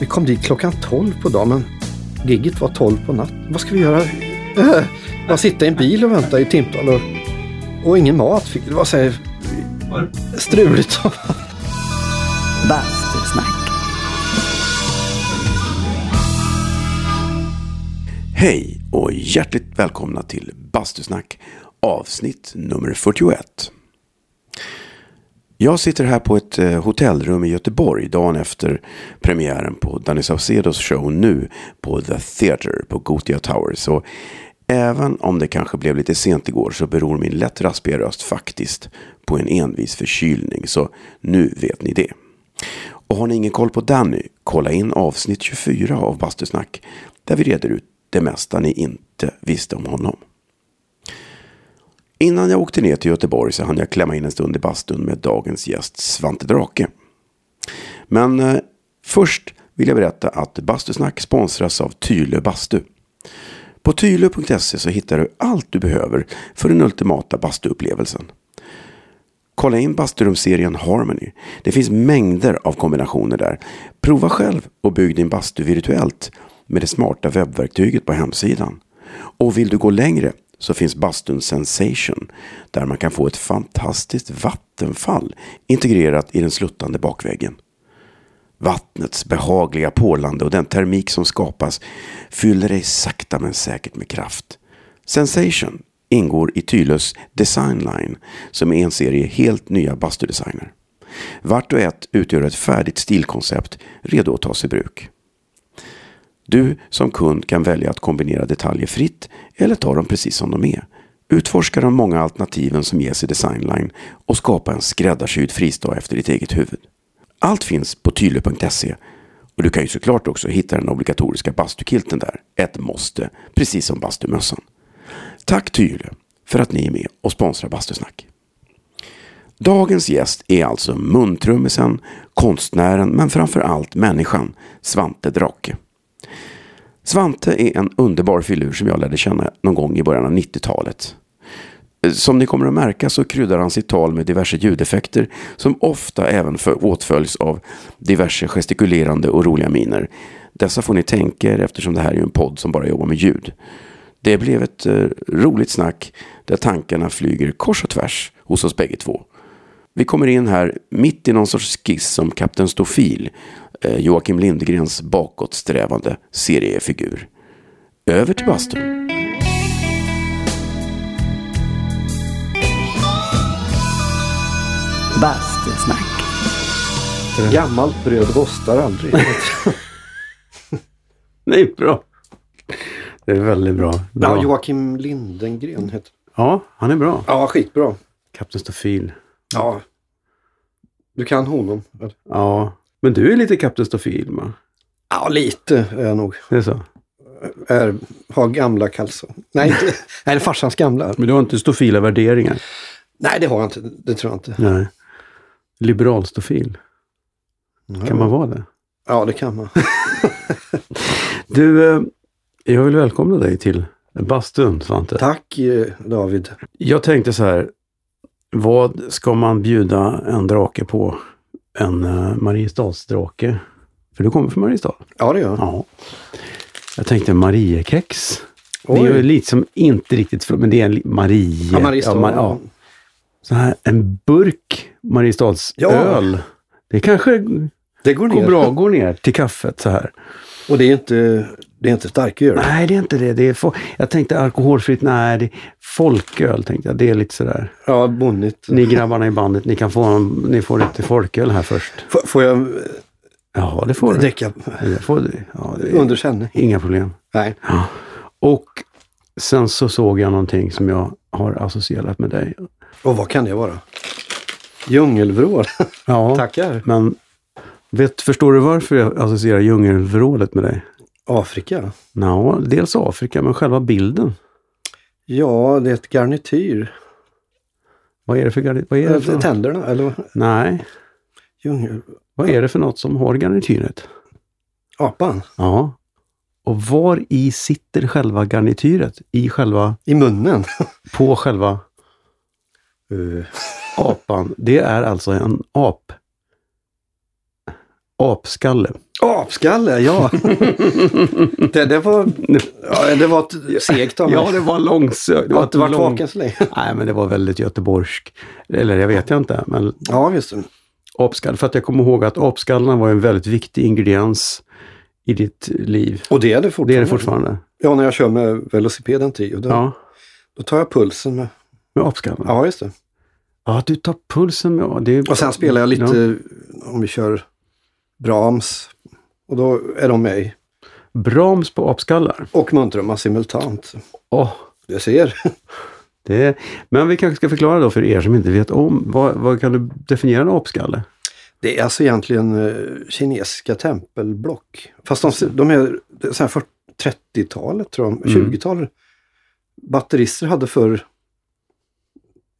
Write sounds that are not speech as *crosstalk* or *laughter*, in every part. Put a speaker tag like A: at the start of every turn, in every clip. A: Vi kom dit klockan 12 på dagen, men gigget var 12 på natten. Vad ska vi göra? Äh, bara sitta i en bil och vänta i timtal och, och ingen mat. Fick, det var så här struligt som
B: Bastusnack.
C: Hej och hjärtligt välkomna till Bastusnack avsnitt nummer 41. Jag sitter här på ett eh, hotellrum i Göteborg dagen efter premiären på Danny Saucedos show nu på The Theatre på Gothia Tower. Så även om det kanske blev lite sent igår så beror min lätt raspiga röst faktiskt på en envis förkylning. Så nu vet ni det. Och har ni ingen koll på Danny, kolla in avsnitt 24 av Bastusnack där vi reder ut det mesta ni inte visste om honom. Innan jag åkte ner till Göteborg så hann jag klämma in en stund i bastun med dagens gäst Svante Drake. Men eh, först vill jag berätta att Bastusnack sponsras av Tylö Bastu. På tylö.se E så hittar du allt du behöver för den ultimata bastuupplevelsen. Kolla in basturumserien Harmony. Det finns mängder av kombinationer där. Prova själv och bygg din bastu virtuellt med det smarta webbverktyget på hemsidan. Och vill du gå längre så finns bastun Sensation där man kan få ett fantastiskt vattenfall integrerat i den sluttande bakväggen. Vattnets behagliga pålande och den termik som skapas fyller dig sakta men säkert med kraft. Sensation ingår i Tylös Designline som är en serie helt nya bastudesigner. Vart och ett utgör ett färdigt stilkoncept redo att tas i bruk. Du som kund kan välja att kombinera detaljer fritt eller ta dem precis som de är. Utforska de många alternativen som ges i Designline och skapa en skräddarsydd fristad efter ditt eget huvud. Allt finns på tylö.se E. och du kan ju såklart också hitta den obligatoriska bastukilten där. Ett måste, precis som bastumössan. Tack Tylö för att ni är med och sponsrar Bastusnack. Dagens gäst är alltså muntrummisen, konstnären men framför allt människan Svante Drake. Svante är en underbar filur som jag lärde känna någon gång i början av 90-talet. Som ni kommer att märka så kryddar han sitt tal med diverse ljudeffekter som ofta även för åtföljs av diverse gestikulerande och roliga miner. Dessa får ni tänka er eftersom det här är ju en podd som bara jobbar med ljud. Det blev ett eh, roligt snack där tankarna flyger kors och tvärs hos oss bägge två. Vi kommer in här mitt i någon sorts skiss som Kapten Stofil, eh, Joakim Lindgrens bakåtsträvande seriefigur. Över till bastun.
B: Bastusnack.
A: gammalt bröd rostar aldrig.
C: Det är bra. Det är väldigt bra. bra.
A: Ja,
C: Ja,
A: Joakim Lindengren heter
C: han är bra.
A: Ja, skitbra.
C: Kapten Stofil.
A: Ja. Du kan honom?
C: Ja, men du är lite Kapten Stofil, va?
A: Ja, lite är jag nog.
C: Det är så.
A: Är, har gamla kalsonger. Nej, *laughs* inte, nej, farsans gamla.
C: Men du har inte stofila värderingar?
A: Nej, det har jag inte. Det tror jag inte.
C: Nej. Liberal stofil. Kan man vara det?
A: Ja, det kan man.
C: Du, eh, jag vill välkomna dig till bastun, Svante.
A: Tack eh, David.
C: Jag tänkte så här, vad ska man bjuda en drake på? En eh, Mariestadsdrake? För du kommer från Mariestad?
A: Ja, det gör jag.
C: Ja. Jag tänkte Mariekex. Det
A: Oj.
C: är ju lite som inte riktigt, från- men det är en li- Marie...
A: Ja, Mariestad.
C: Ja, ma- ja. Så här, en burk Mariestadsöl. Det kanske går
A: Det går ner.
C: bra att gå ner till kaffet så här.
A: Och det är inte, det är inte starköl.
C: Nej, det är inte det. det är fo- jag tänkte alkoholfritt, nej, det folköl tänkte jag. Det är lite sådär.
A: Ja, bonnigt.
C: Ni grabbarna i bandet, ni kan få, en- ni får lite folköl här först.
A: F- får jag eh,
C: Ja, det får du.
A: dricka
C: Det får du. Ja, det är,
A: under känning?
C: inga problem.
A: Nej.
C: Och sen så såg jag någonting som jag har associerat med dig.
A: Och vad kan det vara?
C: *laughs*
A: Djungelvrål.
C: Ja,
A: Tackar.
C: men vet, förstår du varför jag associerar djungelvrålet med dig?
A: Afrika.
C: Ja, dels Afrika, men själva bilden.
A: Ja, det är ett garnityr.
C: Vad är det för garnityr? Vad är Äh, det för
A: Eh,
C: något?
A: Tänderna, eller
C: Nej,
A: djungel...
C: vad är det för något som har garnityret?
A: Apan.
C: Ja. Och var i sitter själva garnityret? I själva,
A: I
C: *laughs*
A: munnen.
C: på själva
A: Eh,
C: apan. Det är alltså en ap. Apskalle.
A: *laughs* Apskalle,
C: *laughs*
A: ja. det, det, var, ja, det var ett segt av mig.
C: Ja, det var långsökt.
A: Jag har inte
C: ett
A: varit
C: lång-
A: vaken så länge.
C: Nej, men det var väldigt göteborgsk. Eller jag vet jag inte, men
A: *laughs* Ja, just det.
C: apskall. För att jag kommer ihåg att apskallarna var en väldigt viktig ingrediens i ditt liv.
A: Och det är det
C: Det
A: fortfarande.
C: är det fortfarande.
A: Ja, när jag kör med velocipeden till. Då,
C: Ja,
A: då tar jag pulsen med.
C: med apskallarna. Ja.
A: Ja, just det.
C: du tar pulsen med... Det är,
A: Och sen spelar jag lite,
C: Ja.
A: om vi kör Brahms, och då är de med i.
C: Brahms på apskallar.
A: Och muntrumma simultant.
C: Åh,
A: Jag ser.
C: det är... Men vi kanske ska förklara då för er som inte vet om. Vad, vad kan du definiera en apskalle?
A: Det är alltså egentligen eh, kinesiska tempelblock. Fast de, de är det är så här för 30-talet, tror
C: Mm.
A: jag, 20-talet. Batterister hade för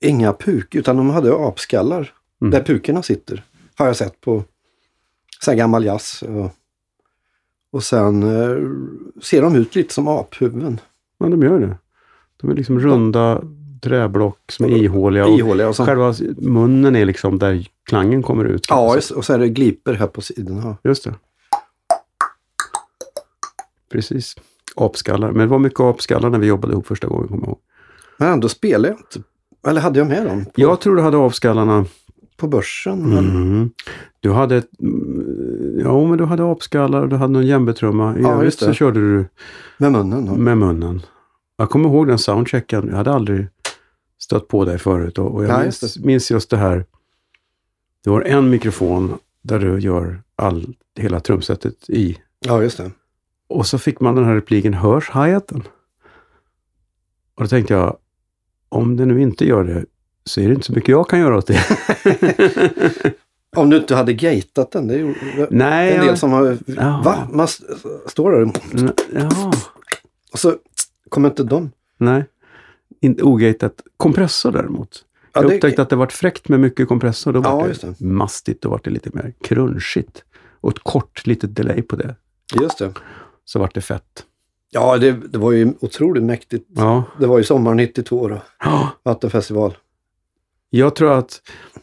A: inga puk, utan de hade apskallar
C: Mm.
A: där pukorna sitter. Har jag sett på så här gammal jazz. Och, och sen eh, ser de ut lite som aphuvuden.
C: Ja, de gör det. De är liksom runda träblock som är
A: Ja,
C: ihåliga. Och
A: Ihåliga och sen,
C: själva munnen är liksom där klangen kommer ut. kan man
A: ja,
C: säga.
A: just- och så är det gliper här på sidorna.
C: Just det. Precis. Apskallar. Men det var mycket apskallar när vi jobbade ihop första gången, kommer jag ihåg.
A: Men ändå spelar jag inte. Eller hade jag med dem
C: Jag tror du hade apskallarna.
A: på börsen? Men,
C: Mm. Du hade ett, mm, ja, men du hade apskallar och du hade någon djembetrumma. I
A: Ja,
C: övrigt
A: just det.
C: så körde du
A: med munnen? Då.
C: med munnen. Jag kommer ihåg den soundchecken. Jag hade aldrig stött på dig förut och, och jag
A: Nej,
C: minns,
A: just
C: minns just det här. Du har en mikrofon där du gör all, hela trumsetet i.
A: Ja, just det.
C: Och så fick man den här repliken, hörs hi-haten? Och då tänkte jag, om den nu inte gör det, så är det inte så mycket jag kan göra
A: *laughs*
C: åt det.
A: Om du inte hade gatat den. Det är ju
C: Nej,
A: en
C: jag-
A: del som har...
C: Ja.
A: Va? Man s- står där
C: N- ja,
A: och så kommer inte de.
C: nej. Inte ogatat. Kompressor däremot.
A: Ja,
C: jag
A: det-
C: upptäckte att det varit fräckt med mycket kompressor. Då var
A: Ja,
C: det,
A: just det.
C: mastigt, då var det lite mer crunchigt. Och ett kort litet delay på det,
A: Just det.
C: så vart det fett.
A: Ja, det, det var ju otroligt mäktigt.
C: Ja.
A: Det var ju sommar 92 då, Vattenfestival.
C: Jag tror att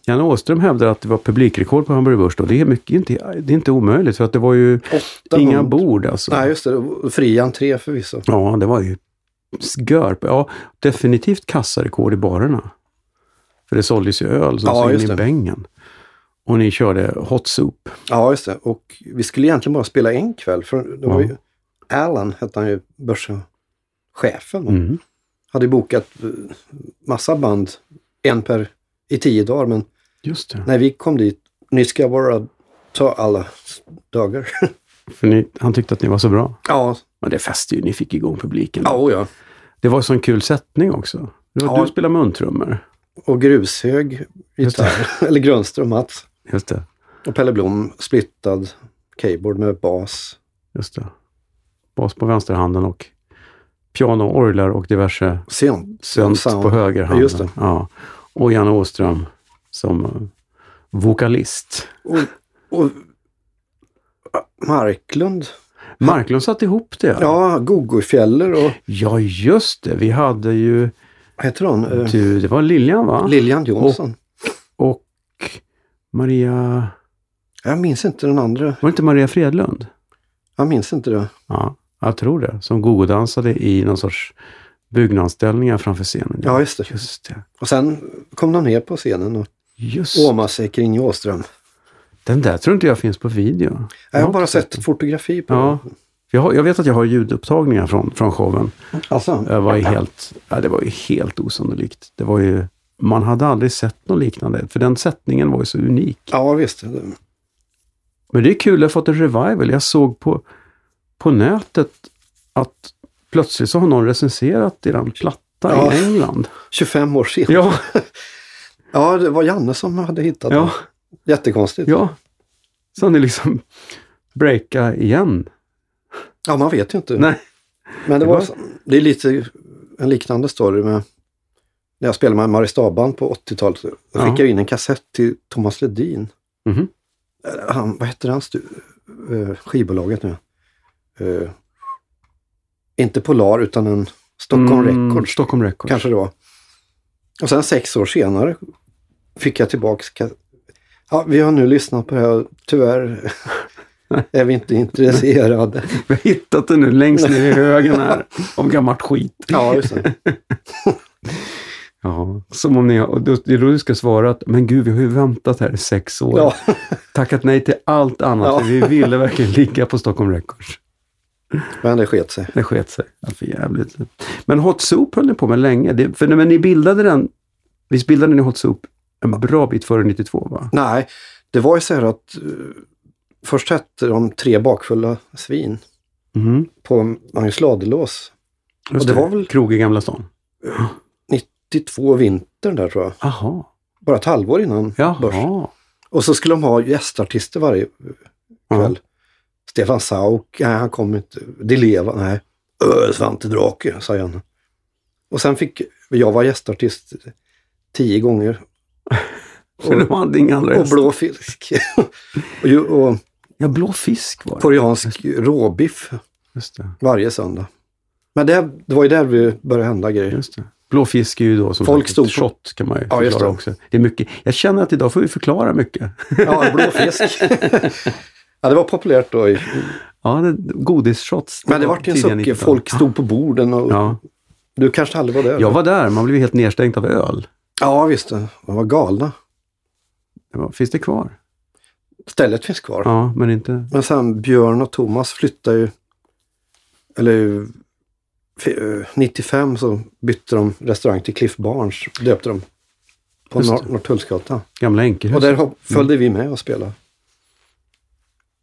C: Janne Åström hävdar att det var publikrekord på Hamburg Börs då. Det är, mycket, inte, det är inte omöjligt, för att det var ju
A: 800.
C: inga bord alltså.
A: Nej, just det. Och Fri entré förvisso.
C: Ja, det var ju görp. Ja, definitivt kassarekord i barerna. För det såldes ju öl som
A: Ja,
C: så in
A: just
C: i
A: det.
C: bängen. Och ni körde hot soup.
A: Ja, just det. Och vi skulle egentligen bara spela en kväll. För det var
C: Ja.
A: ju, Alan hette han ju, börschefen. då.
C: Mm.
A: Hade bokat eh, massa band, en per i tio dagar. Men
C: Just det.
A: när vi kom dit, ni ska bara ta alla dagar.
C: För ni, han tyckte att ni var så bra.
A: *laughs* Ja,
C: Men det fäste ju, ni fick igång publiken.
A: ja, och ja.
C: Det var en sån kul sättning också. Det var,
A: Ja.
C: Du spelade muntrummor.
A: Och Grushög,
C: Just
A: gitarr, *laughs* eller Grönström, Mats.
C: Just det.
A: Och Pelle Blom, splittad keyboard med bas.
C: Just det. Bas på vänsterhanden och piano, orglar och diverse
A: Synt.
C: sönt
A: Sound.
C: på högerhanden.
A: Just det.
C: Ja. Och Janne Åström som eh, vokalist.
A: Och, och Marklund.
C: Marklund satte ihop det.
A: Ja, Gogofjäller och
C: Ja, just det. Vi hade ju,
A: vad heter hon? Eh,
C: du, det var Liljan va?
A: Lilian Jonsson.
C: och Maria,
A: Jag minns inte den andra.
C: var det inte Maria Fredlund?
A: Jag minns inte det.
C: Ja, jag tror det. Som gogodansade i någon sorts byggnadsställningar framför scenen.
A: Ja, just det.
C: Just det.
A: Och sen kom de ner på scenen och
C: Just
A: åmade sig kring Åström.
C: Den där tror inte jag finns på video.
A: Jag har bara
C: inte
A: sett fotografi på
C: Ja. Jag, har, jag vet att jag har ljudupptagningar från, från showen.
A: den. Alltså,
C: Jag var ju helt, ja, det var ju helt osannolikt. Det var ju, man hade aldrig sett något liknande, för den sättningen var ju så unik.
A: ja, visst.
C: Men det är kul, jag har fått en revival. Jag såg på, på nätet att plötsligt så har någon recenserat eran platta
A: Ja.
C: i
A: *laughs*
C: England.
A: 25 år senare.
C: Ja,
A: Ja, det var Janne som hade hittat
C: ja,
A: den. Jättekonstigt.
C: ja. Så har ni liksom breaka igen.
A: Ja, man vet ju inte.
C: Nej.
A: Men det,
C: Det
A: var,
C: var-
A: det är lite en liknande story med när jag spelade med Marius Staban på 80-talet. Då
C: Ja.
A: skickade jag in en kassett till Thomas Ledin.
C: Mhm.
A: Eller Han, vad heter hans stu- eh, skivbolaget nu? Eh, inte Polar utan en Stockholm
C: Mm.
A: Records
C: Stockholm Records.
A: kanske det var. Och sen sex år senare fick jag tillbaks... ka- Ja, vi har nu lyssnat på det här. Tyvärr *laughs* är vi inte intresserade.
C: Vi har hittat det nu
A: *laughs*
C: längst ner i högen här, om gammalt skit.
A: Ja, just det.
C: Ja, som om ni har, och då- det är då du ska svara att, men gud, vi har ju väntat här i sex
A: *laughs*
C: år.
A: Ja,
C: Tackat nej till allt annat,
A: Ja.
C: för vi ville verkligen ligga på Stockholm Records.
A: men det sket sig.
C: Det sket sig. Ja, för jävligt. Men Hot Soup höll ni på med länge. Det, för, men ni bildade den, visst bildade ni Hot Soup en bra bit före 92, va?
A: Nej, det var ju så här att eh, först hette de Tre bakfulla svin
C: Mm.
A: på Magnus Ladulås.
C: Just
A: det var väl-
C: Krog i Gamla stan?
A: 92 vintern där tror jag.
C: Jaha.
A: Bara ett halvår innan börsen.
C: Jaha.
A: Och så skulle de ha gästartister varje
C: Ja.
A: kväll. Stefan Sauk, nej han kom inte. Di Leva, nej. Ö, Svante Drake, sa han. Och sen fick, jag var gästartist tio gånger.
C: *laughs* För de hade inga andra
A: Och
C: gäster.
A: blå fisk. *laughs* och, ju- och
C: Ja, blå fisk var det.
A: koreansk råbiff
C: Just det.
A: varje söndag. Men det, det var ju där vi började hända
C: *laughs*
A: grejer.
C: Just det. Blå fisk är ju då som
A: Folk
C: sagt
A: stod på-
C: ett shot kan man ju
A: Ja,
C: förklara
A: just det.
C: också. Det är mycket. Jag känner att idag får vi förklara mycket.
A: Ja, en blå
C: *laughs*
A: fisk. ja, det var populärt då. i-
C: Ja, det, godisshots.
A: Men det var ju en
C: tidiga
A: sucker.
C: 90-tal.
A: Folk stod på borden och
C: Ja,
A: du kanske aldrig var där?
C: jag var där. Man blev ju helt nedstängt av öl.
A: Ja, visst. De var galna.
C: Det var- Finns det kvar?
A: Stället finns kvar.
C: Ja, men inte...
A: Men sen Björn och Thomas flyttade ju, eller f- eh, 95 så bytte de restaurang till Cliff Barnes, döpte dem på
C: Just
A: Nor-
C: det. Mm.
A: Norrtullsgatan.
C: Gamla
A: Och
C: enkelhus.
A: där hop- följde vi med och spelade.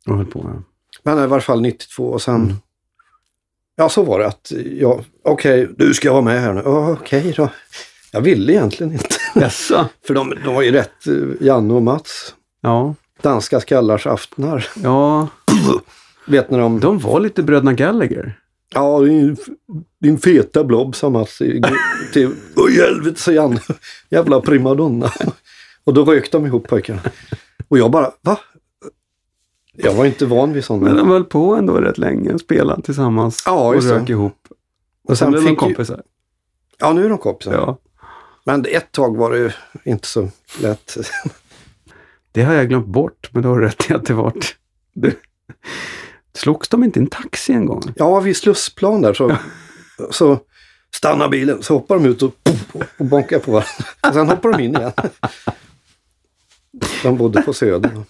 C: Och höll på. Ja.
A: Men i varje fall 92 och sen,
C: Mm.
A: ja så var det att jag, okej, du ska vara med här nu. Ja, Okej då. Jag ville egentligen inte. *laughs*
C: Jaså?
A: För de, de var ju rätt, eh, Janne och Mats,
C: Ja.
A: danska skallars aftnar.
C: ja,
A: Vet ni de
C: de var lite bröderna Gallagher.
A: Ja, din, din feta blob sa Mats. i- Till, Åh i helvete, sa Janne. Jävla primadonna. Och då rök de ihop pojkarna. Och jag bara, va? Jag var inte van vid
C: Men
A: sådana.
C: de höll på ändå rätt länge och spelade tillsammans
A: Ja,
C: och
A: just det.
C: rök ihop. Och sen
A: sen
C: blev de
A: fick ju-
C: kompisar.
A: Ja, nu är de kompisar.
C: Ja.
A: Men ett tag var det ju inte så lätt.
C: Det har jag glömt bort, men du har rätt i att det vart... Du... Slogs de inte i en taxi en gång?
A: Ja, vid Slussplan där så, så stannar bilen. Så hoppar de ut och, och bonkar på varandra. Och sen hoppar de in igen. De bodde på Söder.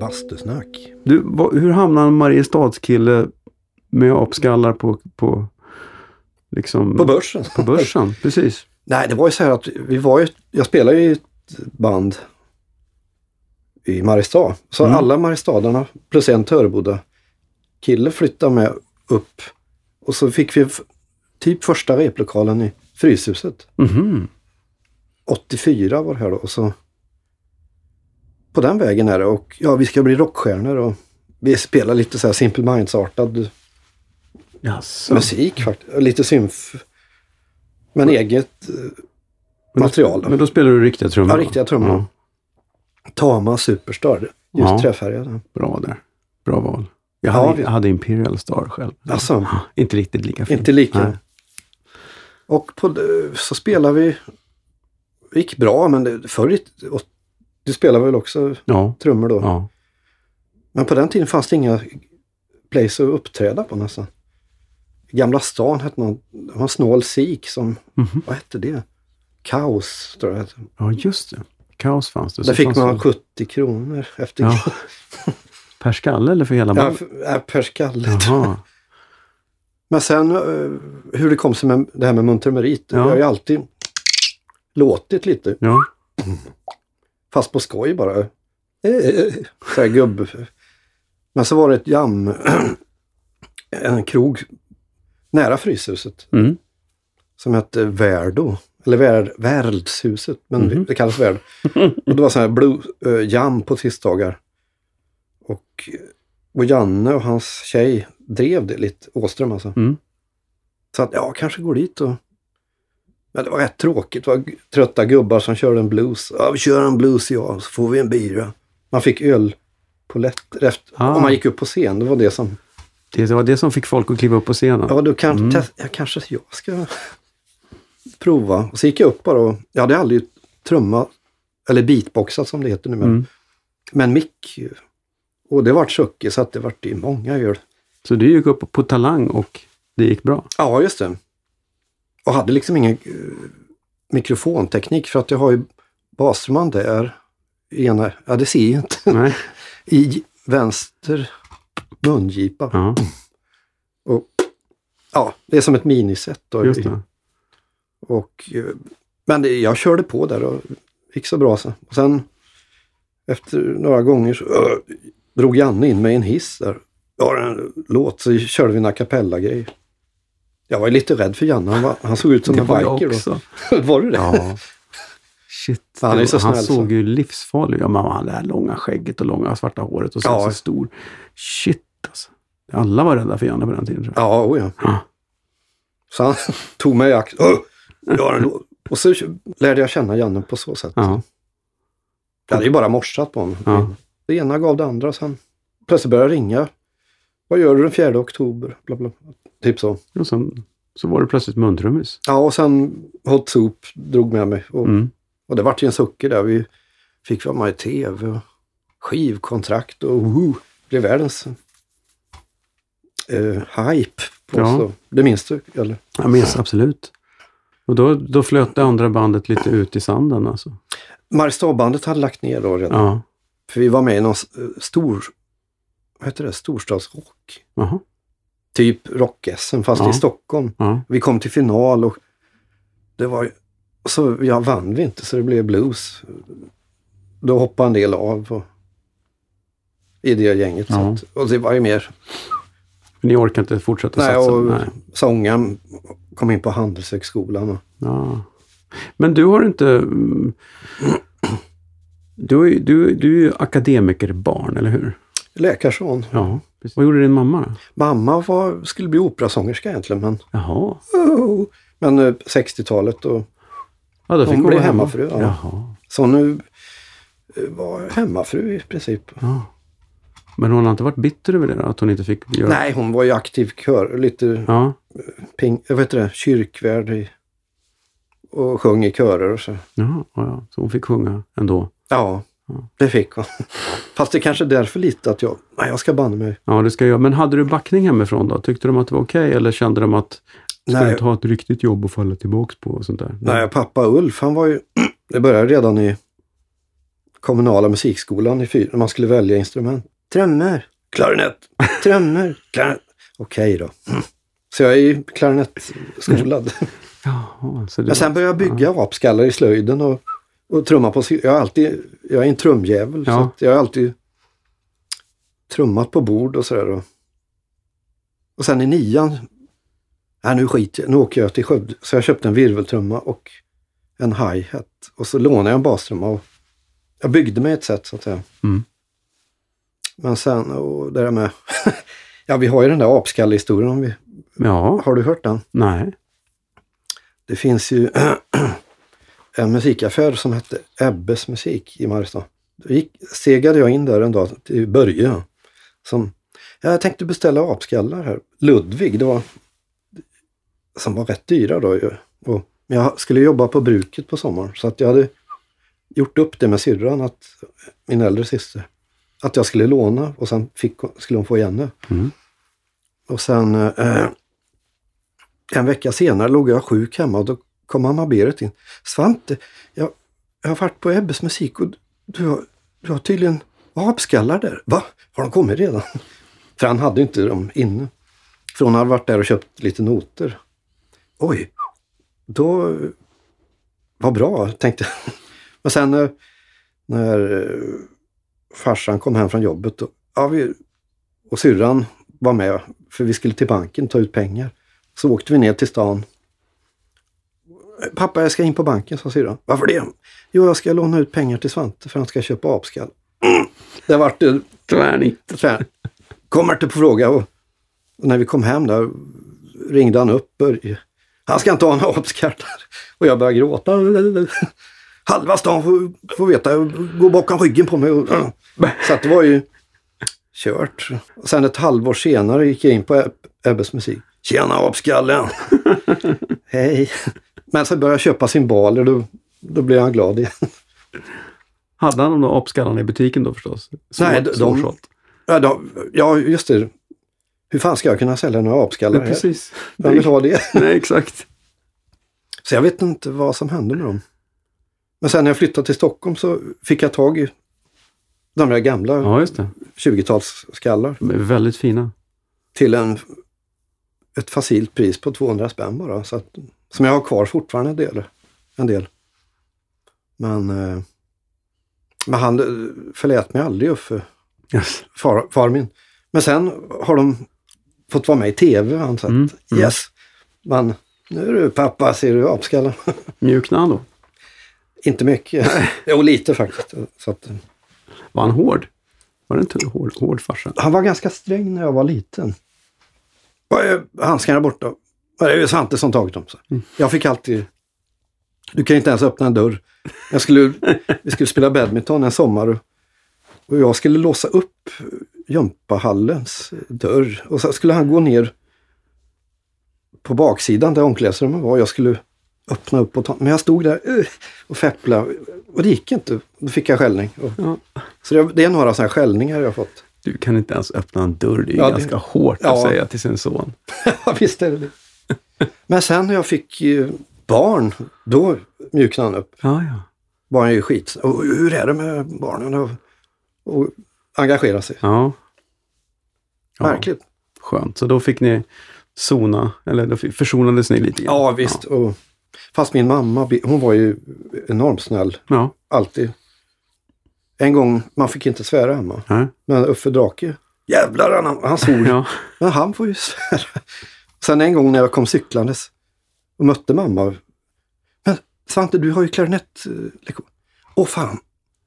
A: Bastusnack.
C: Du, vad, hur hamnade en Mariestadskille med apskallar på, på, liksom,
A: På börsen.
C: på börsen? Precis.
A: Nej, det var ju så här att vi var ju, jag spelade ju i ett band i Mariestad. Så
C: Mm.
A: alla Mariestadarna plus en Töreboda kille flyttade med upp. Och så fick vi f- typ första replokalen i Fryshuset.
C: Mhm.
A: 84 var det här då. Och så på den vägen är det. Och ja, vi ska bli rockstjärnor och vi spelar lite så här Simple Minds-artad
C: Jaså.
A: musik faktiskt. Lite symf. Men eget eh,
C: Men då-
A: material.
C: Men då spelar du riktiga trummor?
A: Ja,
C: va?
A: riktiga trummor.
C: Ja,
A: Tama Superstar. Just
C: Ja.
A: träfärgade.
C: bra där. Bra val. Jag
A: Ja,
C: hade,
A: vi-
C: jag hade Imperial Star själv.
A: Alltså,
C: Inte riktigt lika fin.
A: inte lika.
C: Nej.
A: Och på, så spelade vi. Det gick bra, men det, förr i, och, du spelade väl också
C: Ja,
A: trummor då?
C: ja.
A: Men på den tiden fanns det inga place att uppträda på nästan. Gamla stan hette någon, det var en snål sik som,
C: Mhm.
A: vad hette det? Kaos, tror jag. det hette.
C: ja, just det. Kaos fanns det.
A: Där
C: Så
A: fick
C: fanns
A: man
C: det-
A: 70 kronor efter
C: Ja. Per skalle eller för hela
A: ja,
C: bandet?
A: f- ja, per skalle.
C: Jaha.
A: Men sen eh, hur det kom sig med det här med munter merit.
C: Ja.
A: Jag har ju alltid låtit lite,
C: Ja.
A: fast på skoj bara. Eh, eh, eh, Så här gubb. Men så var det ett jam, en krog nära Fryshuset
C: Mm.
A: som hette Värdo. Eller Vär, Världshuset, men
C: Mhm.
A: det kallas
C: *laughs*
A: Värdo. Och det var så här blue, eh, jam på tisdagar. Och, eh, och Janne och hans tjej drev det lite, Åström alltså.
C: Mm.
A: Så att, ja, kanske går dit och... Men det var rätt tråkigt. Det var g- trötta gubbar som körde en blues. Ja, vi kör en blues ja, så får vi en bira. Man fick öl på lätt efter,
C: Ah.
A: om man gick upp på scen. Det var det som...
C: Det var det som fick folk att kliva upp på scenen.
A: Ja, då kan,
C: Mm.
A: test, ja, kanske jag ska prova. Och så gick jag upp bara och... Jag hade aldrig trumma, Eller beatboxat som det heter nu. Men,
C: Mm.
A: men mick. ju. Och det vart sucke så att det vart i många öl.
C: Så du gick upp på talang och det
A: *laughs*
C: gick bra.
A: Ja, just det. Och hade liksom ingen eh, mikrofonteknik för att jag har ju basrumman där. i Ena, ja, det ser jag inte.
C: Nej.
A: I vänster mungipa.
C: Ja,
A: Ja, det är som ett miniset. Då.
C: just det.
A: Och, eh, men det, jag körde på där och gick så bra. Så. Och sen efter några gånger så ö, drog Janne in mig i en hiss där. Jag har en låt, så körde vi en a cappella-grej. Jag var ju lite rädd för Janne, han, var, han såg ut som
C: det
A: en
C: var jag
A: biker
C: också.
A: då. *laughs* var du det? *laughs*
C: Ja. Shit,
A: Fan, han är
C: det-
A: så
C: han
A: snäll, så.
C: såg ju livsfarlig ut. Ja, men han hade det här långa skägget och långa svarta håret och så,
A: Ja.
C: så stor. Shit alltså. Alla var rädda för Janne på den tiden tror jag.
A: Ja, oh ja.
C: Ja.
A: Så han *laughs* tog mig i akt. Ö, jag har en låt. Och så lärde jag känna Janne på så sätt.
C: Ja.
A: Jag hade ju bara morsat på honom.
C: Ja.
A: Det ena gav det andra. Sen plötsligt började jag ringa. Vad gör du den 4 oktober? Bla, bla. Typ så.
C: Och sen så var det plötsligt muntrummis.
A: Ja, och sen Hot Soup drog med mig. Och,
C: Mm.
A: och det vart ju en sucker där. Vi fick vara med i tv och skivkontrakt och woo, blev världens eh, hype. På
C: Ja.
A: oss. Och Det minns du? Eller?
C: Jag minns absolut. Och då, då flöt det andra bandet lite ut i sanden alltså.
A: Mariestadbandet hade lagt ner då redan.
C: Ja.
A: För vi var med i någon s- eh, stor, vad heter det, storstadsrock.
C: Jaha.
A: Typ rock-SM fast
C: Ja.
A: i Stockholm.
C: Ja.
A: Vi kom till final och det var ju- så jag vann vi inte så det blev blues. Då hoppade en del av och, i det gänget. Så
C: Ja.
A: att, och det var ju mer,
C: För ni orkar inte fortsätta
A: nej,
C: satsa?
A: och
C: Nej.
A: sångaren kom in på Handelshögskolan. Och,
C: Ja. Men du har inte... mm, Du är, du, du är ju akademikerbarn, eller hur?
A: läkarson.
C: Ja. Precis. Vad gjorde din mamma?
A: Mamma var, skulle bli operasångerska egentligen, men,
C: Jaha.
A: men eh, 60-talet och
C: Ja, då
A: Hon
C: fick hon
A: blev
C: vara hemma.
A: hemmafru, ja.
C: Jaha.
A: så nu eh, var hemmafru i princip.
C: Ja. Men hon har inte varit bitter över det då, att hon inte fick göra...
A: Nej, hon var ju aktiv kör, lite
C: Ja.
A: ping, eh, jag vet inte, kyrkvärd i, och sjöng i körer och så.
C: Jaha, ja, ja. Så hon fick sjunga ändå.
A: Ja,
C: Ja.
A: det fick hon. *laughs* Fast det kanske är därför lite att jag, nej jag ska banne mig.
C: Ja, det ska jag göra. Men hade du backning hemifrån då? Tyckte de att det var okej eller kände de att ska
A: Nej.
C: du inte ha ett riktigt jobb att falla tillbaka på och sånt där?
A: Nej, pappa Ulf, han var ju, *clears throat* det började redan i kommunala musikskolan i fyra, när man skulle välja instrument. Trummor, klarinett, *laughs* trummor, klarinett. Okej då. *clears throat* Så jag är ju klarinettskolad.
C: Jaha, så du...
A: Men sen började jag bygga apskallar i slöjden och, och trumma på... Jag, har alltid, jag är en trumjävel, så
C: Ja.
A: att jag har alltid trummat på bord och sådär. Och, och sen i nian, nej nu skiter jag, nu åker jag till Skövde. Så jag köpte en virveltrumma och en hi-hat. Och så lånade jag en bastrumma. Och jag byggde mig ett sätt så att säga.
C: Mm.
A: Men sen, och det där med... *laughs* ja, vi har ju den där apskallehistorien. om vi-
C: Ja,
A: Har du hört den?
C: nej.
A: Det finns ju *clears throat* en musikaffär som hette Ebbes musik i Mariestad. Då gick, segade jag in där en dag till Börje. Som, jag tänkte beställa apskallar här. Ludvig, det var, som var rätt dyra då. ju. Och, men jag skulle jobba på bruket på sommaren så att jag hade gjort upp det med syrran, att, min äldre syster, att jag skulle låna och sen fick, hon- skulle hon få igen det.
C: Mm.
A: Och sen eh, en vecka senare låg jag sjuk hemma och då kom mamma Berit in. Svante, jag, jag har varit på Ebbes musik och du har, du har tydligen apskallar där. Va? Har de kommit redan? *laughs* För han hade ju inte dem inne. För hon hade varit där och köpt lite noter. Oj, då... Vad bra, tänkte jag. *laughs* Men sen eh, när eh, farsan kom hem från jobbet då, ja, vi, och syrran var med, för vi skulle till banken ta ut pengar. Så åkte vi ner till stan. Pappa, jag ska in på banken, sa syrran. Varför det? Jo, jag ska låna ut pengar till Svante för han ska köpa apskall. Mm. Det vart det
C: Tvärnit.
A: så här, kommer inte på fråga. Och, och när vi kom hem där ringde han upp. Börje. Han ska inte ha några apskattar. Och jag började gråta. Halva stan får, får veta. Gå bakom ryggen på mig. Och, så att det var ju kört. Och sen ett halvår senare gick jag in på Eb- Ebbes musik. Tjena *laughs* apskallen! Hej! Men så började jag köpa cymbaler. Då, då blev han glad igen.
C: Hade han de där apskallarna i butiken då förstås? Så,
A: Nej, de- de-
C: sålt.
A: Ja, då, ja, just det. Hur fan ska jag kunna sälja några apskallar?
C: Ja,
A: här? *laughs*
C: precis.
A: Vem vill
C: Nej,
A: ha det?
C: nej, exakt.
A: Så jag vet inte vad som hände med dem. Men sen när jag flyttade till Stockholm så fick jag tag i de där gamla
C: Ja, just det.
A: 20-talsskallar
C: De är väldigt fina.
A: till en, ett facilt pris på 200 spänn bara. Så att, som jag har kvar fortfarande en del. En del. Men, eh, men han eh, förlät mig aldrig Uffe,
C: Yes.
A: far, far min. Men sen har de fått vara med i tv. Han sagt,
C: Mm, mm.
A: Yes! Men nu är du pappa, ser du apskallen?
C: Mjuknade han då?
A: Inte mycket. *laughs* Jo, lite faktiskt. Så att, eh,
C: Var han hård? Var det inte en hård, hård farsa?
A: han var ganska sträng när jag var liten. Vad är handskarna borta? Vad är det Svante som tagit dem? Så. Jag fick alltid... Du kan inte ens öppna en dörr. Jag skulle, vi skulle spela badminton en sommar och- och jag skulle låsa upp gympahallens dörr. Och så skulle han gå ner på baksidan där omklädningsrummet var. Jag skulle öppna upp och ta... Men jag stod där eh, och fepplade och det gick inte. Då fick jag skällning. Och,
C: Ja.
A: Så det, det är några sådana här skällningar jag har fått. *laughs*
C: Du kan inte ens öppna en dörr. Det är ju
A: Ja, det-
C: ganska hårt att
A: Ja.
C: säga till sin son.
A: Ja, visst är det det. Men sen när jag fick eh, barn, då mjuknade han upp.
C: Ja, ja.
A: Barn är ju skit. Och hur är det med barnen? Och, och engagera sig.
C: ja. Ja,
A: Märkligt.
C: Skönt. Så då fick ni sona, eller då fick- försonades ni lite grann.
A: Ja, visst. Och, fast min mamma, hon var ju enormt snäll.
C: Ja.
A: Alltid. En gång, man fick inte svära hemma.
C: Ja.
A: Men Uffe Drake, jävlar han, han svor.
C: ja.
A: Men han får ju svära. *laughs* Sen en gång när jag kom cyklandes och mötte mamma. Men Svante, du har ju klarinettlektion. Åh fan,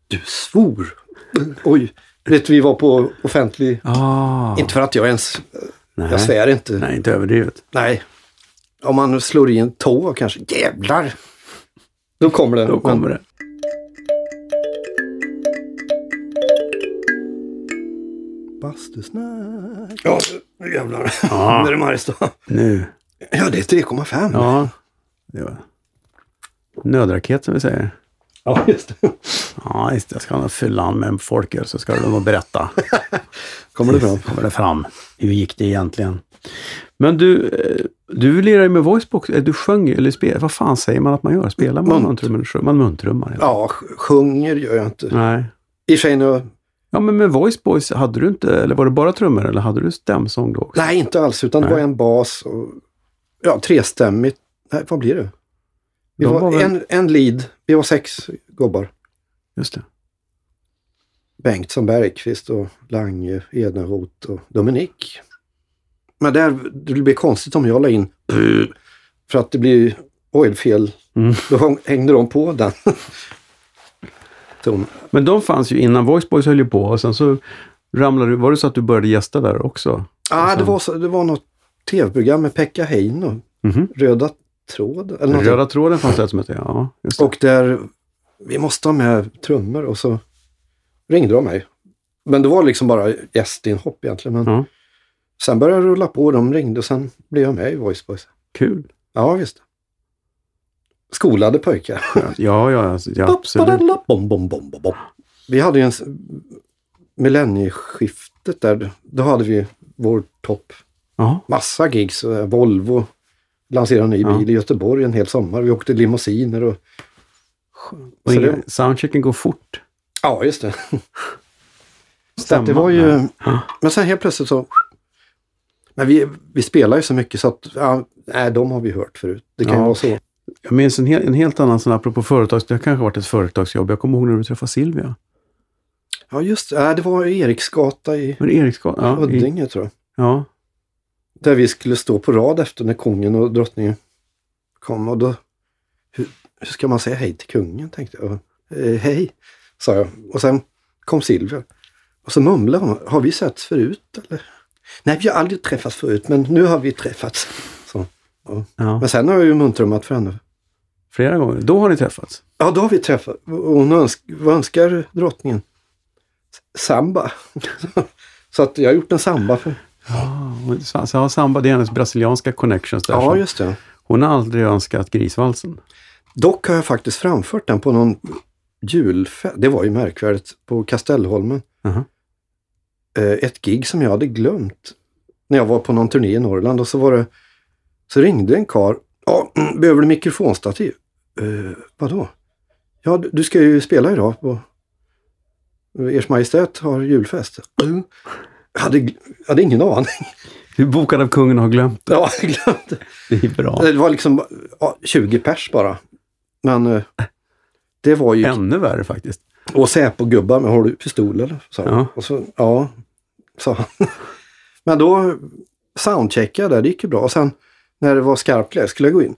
A: du svor! Oj, vet du, vi var på offentlig...
C: Ah.
A: Inte för att jag ens...
C: Nej.
A: Jag svär inte. Nej.
C: Nej, inte överdrivet.
A: Om man slår i en tå kanske. Jävlar! Då kommer det.
C: Då kommer det.
A: Bastusnack. Ja, nu jävlar.
C: Ja.
A: *laughs* Nu är det Mariestad.
C: Nu.
A: Ja, det är 3,5.
C: Ja. Det var nödraket som vi säger.
A: ja, just det.
C: Ja, just det. Ska han fylla an med en folköl så ska du nog berätta.
A: Kommer det fram?
C: kommer det fram. Hur gick det egentligen? Men du, eh, du lirar ju med voicebox. Eh, Du sjöng ju, eller spelade. Vad fan säger man att man gör? Spelar man
A: Munt.
C: muntrum eller sjunger man muntrummar? eller?
A: Ja, sj- sjunger gör jag inte.
C: Nej.
A: I och för sig nu
C: Ja, men med Voice Boys, hade du inte, eller var det bara trummor eller hade du stämsång då också?
A: Nej, inte alls. Utan det
C: Nej.
A: var en bas och ja, trestämmigt. Nej, vad blir det? Vi
C: De
A: var
C: var väl-
A: en, en lead. Vi var sex gubbar.
C: Just det.
A: Bengtsson, Bergqvist och Lange, Edenroth och Dominik. Men där, det blir konstigt om jag la in *clears throat* "Bu", för att det blir oilfel.
C: Mm.
A: *laughs* Då häng- hängde de på
C: *laughs*
A: den. Ton.
C: Men de fanns ju innan Voice Boys höll ju på och sen så ramlade du, var det så att du började gästa där också?
A: Ah,
C: sen-
A: det, var så, det var något tv-program med Pekka Heino,
C: Mhm.
A: Röda tråden. Eller någonting.
C: Röda tråden fanns det ett som hette, ja. Just det.
A: Och där, vi måste ha med trummor och så ringde de mig. Men det var liksom bara gästinhopp egentligen. Men
C: Ja.
A: Sen började jag rulla på, de ringde och sen blev jag med i Voice Boys.
C: Kul.
A: Ja, visst. Skolade pojkar.
C: Ja, ja, ja, ja *laughs* absolut.
A: Bom, bom, bom, bom, bom. Vi hade ju en... s- Millennieskiftet där, då hade vi vår topp.
C: Ja.
A: Massa gigs. eh, Volvo lanserade en ny
C: Ja.
A: bil i Göteborg en hel sommar. Vi åkte limousiner och... Så
C: Och ingen,
A: det-
C: soundchecken går fort.
A: Ja, just det. Så
C: Stämman
A: att det var
C: där.
A: ju...
C: Ja.
A: Men sen helt plötsligt så... Men vi, vi spelar ju så mycket så att, ja, nej, de har vi hört förut. Det kan ju
C: Ja.
A: vara så.
C: Jag minns en, hel, en helt annan sån, apropå företags... Det har kanske varit ett företagsjobb. Jag kommer ihåg när du träffade Silvia.
A: Ja, just det. Ja, det var Eriksgata i
C: Men Eriksgatan? Ja, i,
A: Huddinge, tror jag.
C: ja.
A: Där vi skulle stå på rad efter när kungen och drottningen kom. Och då, hur, hur ska man säga hej till kungen, tänkte jag. Eh, hej, sa jag. Och sen kom Silvia. Och så mumlade hon, har vi setts förut eller? Nej, vi har aldrig träffats förut, men nu har vi träffats. Så.
C: ja.
A: Men sen har jag ju muntrummat för henne.
C: Flera gånger. Då har ni träffats?
A: Ja, då har vi träffat. Och Hon önsk, vad önskar drottningen? Samba. *laughs* så att jag har gjort en samba. För,
C: Ja, och så- så har Samba, det är hennes brasilianska connections där.
A: ja,
C: som-
A: just det.
C: Hon har aldrig önskat grisvalsen.
A: Dock har jag faktiskt framfört den på någon julfest. Det var ju märkvärdigt på Kastellholmen.
C: Jaha.
A: Eh, ett gig som jag hade glömt. När jag var på någon turné i Norrland och så var det... Så ringde en karl. Ja, *clears throat* behöver du mikrofonstativ? Eh, vadå? Ja, du- du ska ju spela idag på... Ers Majestät har julfest. Mm. Jag hade, gl- jag hade ingen aning. *laughs*
C: Du är bokad av kungen och har glömt.
A: Ja, jag glömde.
C: Det är bra.
A: Det var liksom ja, 20 pers bara. Men eh, det var ju...
C: Eh, Ännu värre faktiskt.
A: Och Säpo-gubbar, men har du pistol eller? Sa han.
C: Ja.
A: Och så, ja, sa han. *laughs* Men då soundcheckade jag där, det gick ju bra. Och sen när det var skarpt läge skulle jag gå in.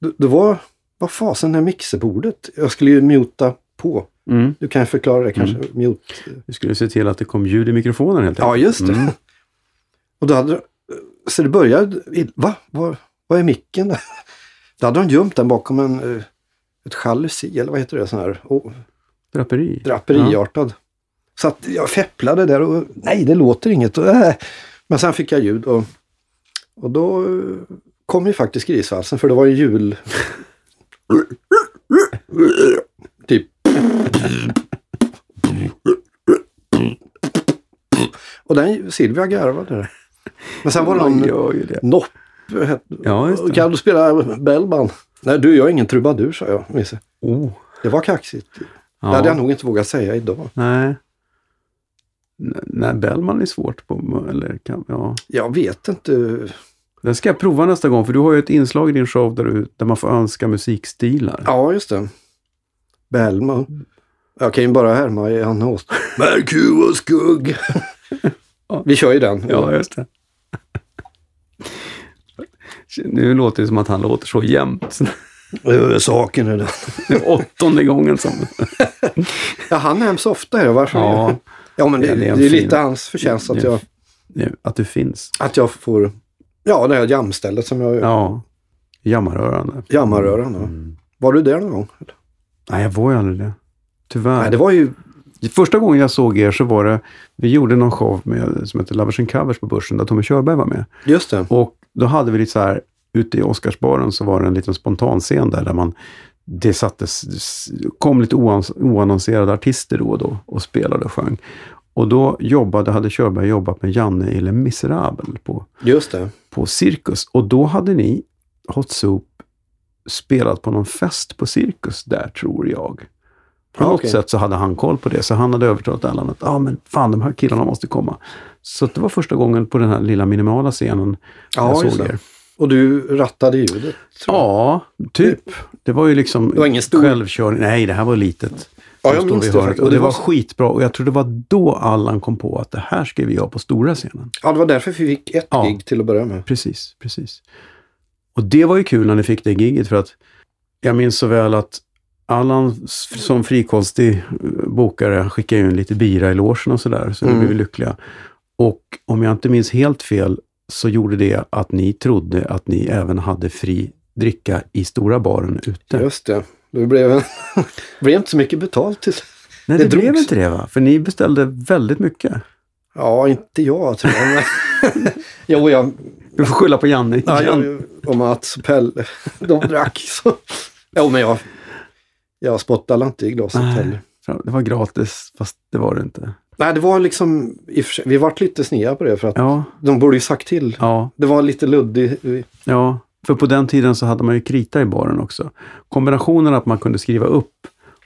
A: Då, då var, vad fasen är mixerbordet? Jag skulle ju muta på.
C: Mm.
A: Du kan förklara det kanske. Mute.
C: Du skulle se till att det kom ljud i mikrofonen helt
A: Mm. Ja,
C: enkelt.
A: just det.
C: Mm.
A: Och då hade, så det började, i- va? Var, var är micken? där? *laughs* Då hade de gömt den bakom en, eh, ett jalusi, eller vad heter det? Sån här, oh,
C: Draperi.
A: draperiartad. Så att jag fepplade där och nej, det låter inget. Och, äh. Men sen fick jag ljud och, och då eh, kom ju faktiskt grisvalsen för det var ju jul... typ. Och den Silvia garvade. där. Men sen var det
C: Man
A: någon
C: gör ju det.
A: Nopp.
C: Ja, just det.
A: Kan du spela Bellman? Nej du, jag är ingen trubadur, sa jag. Nisse.
C: Oh.
A: Det var kaxigt.
C: Ja.
A: Det hade jag nog inte vågat säga idag.
C: Nej. N- Nej, Bellman är svårt på... Eller kan, ja.
A: Jag vet inte.
C: Den ska jag prova nästa gång, för du har ju ett inslag i din show där, du, där man får önska musikstilar.
A: Ja, just det. Bellman. Jag kan ju bara härma Janne Åst. Merkur och *laughs* skugg. Vi kör ju den.
C: Ja, just det. Nu låter det som att han låter så jämt.
A: Ö, Saken är den.
C: Det är åttonde gången som...
A: Ja, han nämns ofta. Ja, varför?
C: Ja,
A: ja men det,
C: Ja, det
A: det
C: är
A: är
C: en fin-
A: lite hans förtjänst att
C: det är
A: jag,
C: nu, att du finns.
A: att jag får... Ja, det här jamstället som jag...
C: Ja, jammarörande. Mm.
A: Jammaröran. då. Var du där någon gång?
C: Nej, jag var ju aldrig det. Tyvärr.
A: Nej, det var ju...
C: Första gången jag såg er så var det, vi gjorde någon show med, som hette Lovers and Covers på Börsen, där Tommy Körberg var med.
A: Just det.
C: Och då hade vi lite så här, ute i Oscarsbaren så var det en liten spontanscen där, där man, det sattes, kom lite oans, oannonserade artister då och då och spelade och sjöng. Och då jobbade, hade Körberg jobbat med Janne i Les Misérables på,
A: Just det.
C: på Cirkus. Och då hade ni, Hot Soup, spelat på någon fest på Cirkus där, tror jag. På
A: Ja,
C: något
A: Ah, okej.
C: sätt så hade han koll på det, så han hade övertalat Allan att ah, men fan, de här killarna måste komma. Så att det var första gången på den här lilla minimala scenen
A: Ja,
C: jag
A: just
C: såg
A: det.
C: er.
A: Och du rattade ljudet. tror jag.
C: Ja, typ. Det var ju liksom
A: Det var ingen stor-
C: självkörning. Nej, det här var litet.
A: Ja,
C: Som
A: jag
C: står
A: minns
C: vid
A: det
C: hörnet.
A: faktiskt.
C: Och det var skitbra. Och jag tror det var då Allan kom på att det här ska vi göra på stora scenen.
A: ja, det var därför vi fick ett
C: Ja.
A: gig till att börja med.
C: Precis, precis. Och det var ju kul när ni fick det giget för att jag minns så väl att Allan s- som frikostig eh, bokare skickade ju in lite bira i logen och sådär, så vi
A: Mm.
C: blev lyckliga. Och om jag inte minns helt fel så gjorde det att ni trodde att ni även hade fri dricka i stora baren ute.
A: Just det. Det blev, *laughs* det blev inte så mycket betalt till
C: Nej, det,
A: Det
C: blev
A: drogs.
C: inte det va? För ni beställde väldigt mycket.
A: Ja, inte jag tror jag. men- *laughs* jo, jag,
C: Du får skylla på Janne.
A: ja,
C: Jan-
A: jag och Mats och Pelle, de drack så. Jo, men jag, jag spottade inte i glaset
C: Nej.
A: heller.
C: Det var gratis, fast det var det inte.
A: Nej, det var liksom, i och för sig- vi vart lite snea på det för att
C: Ja,
A: de borde ju sagt till.
C: ja,
A: Det var lite luddig. eh,
C: ja. För på den tiden så hade man ju krita i baren också. Kombinationen att man kunde skriva upp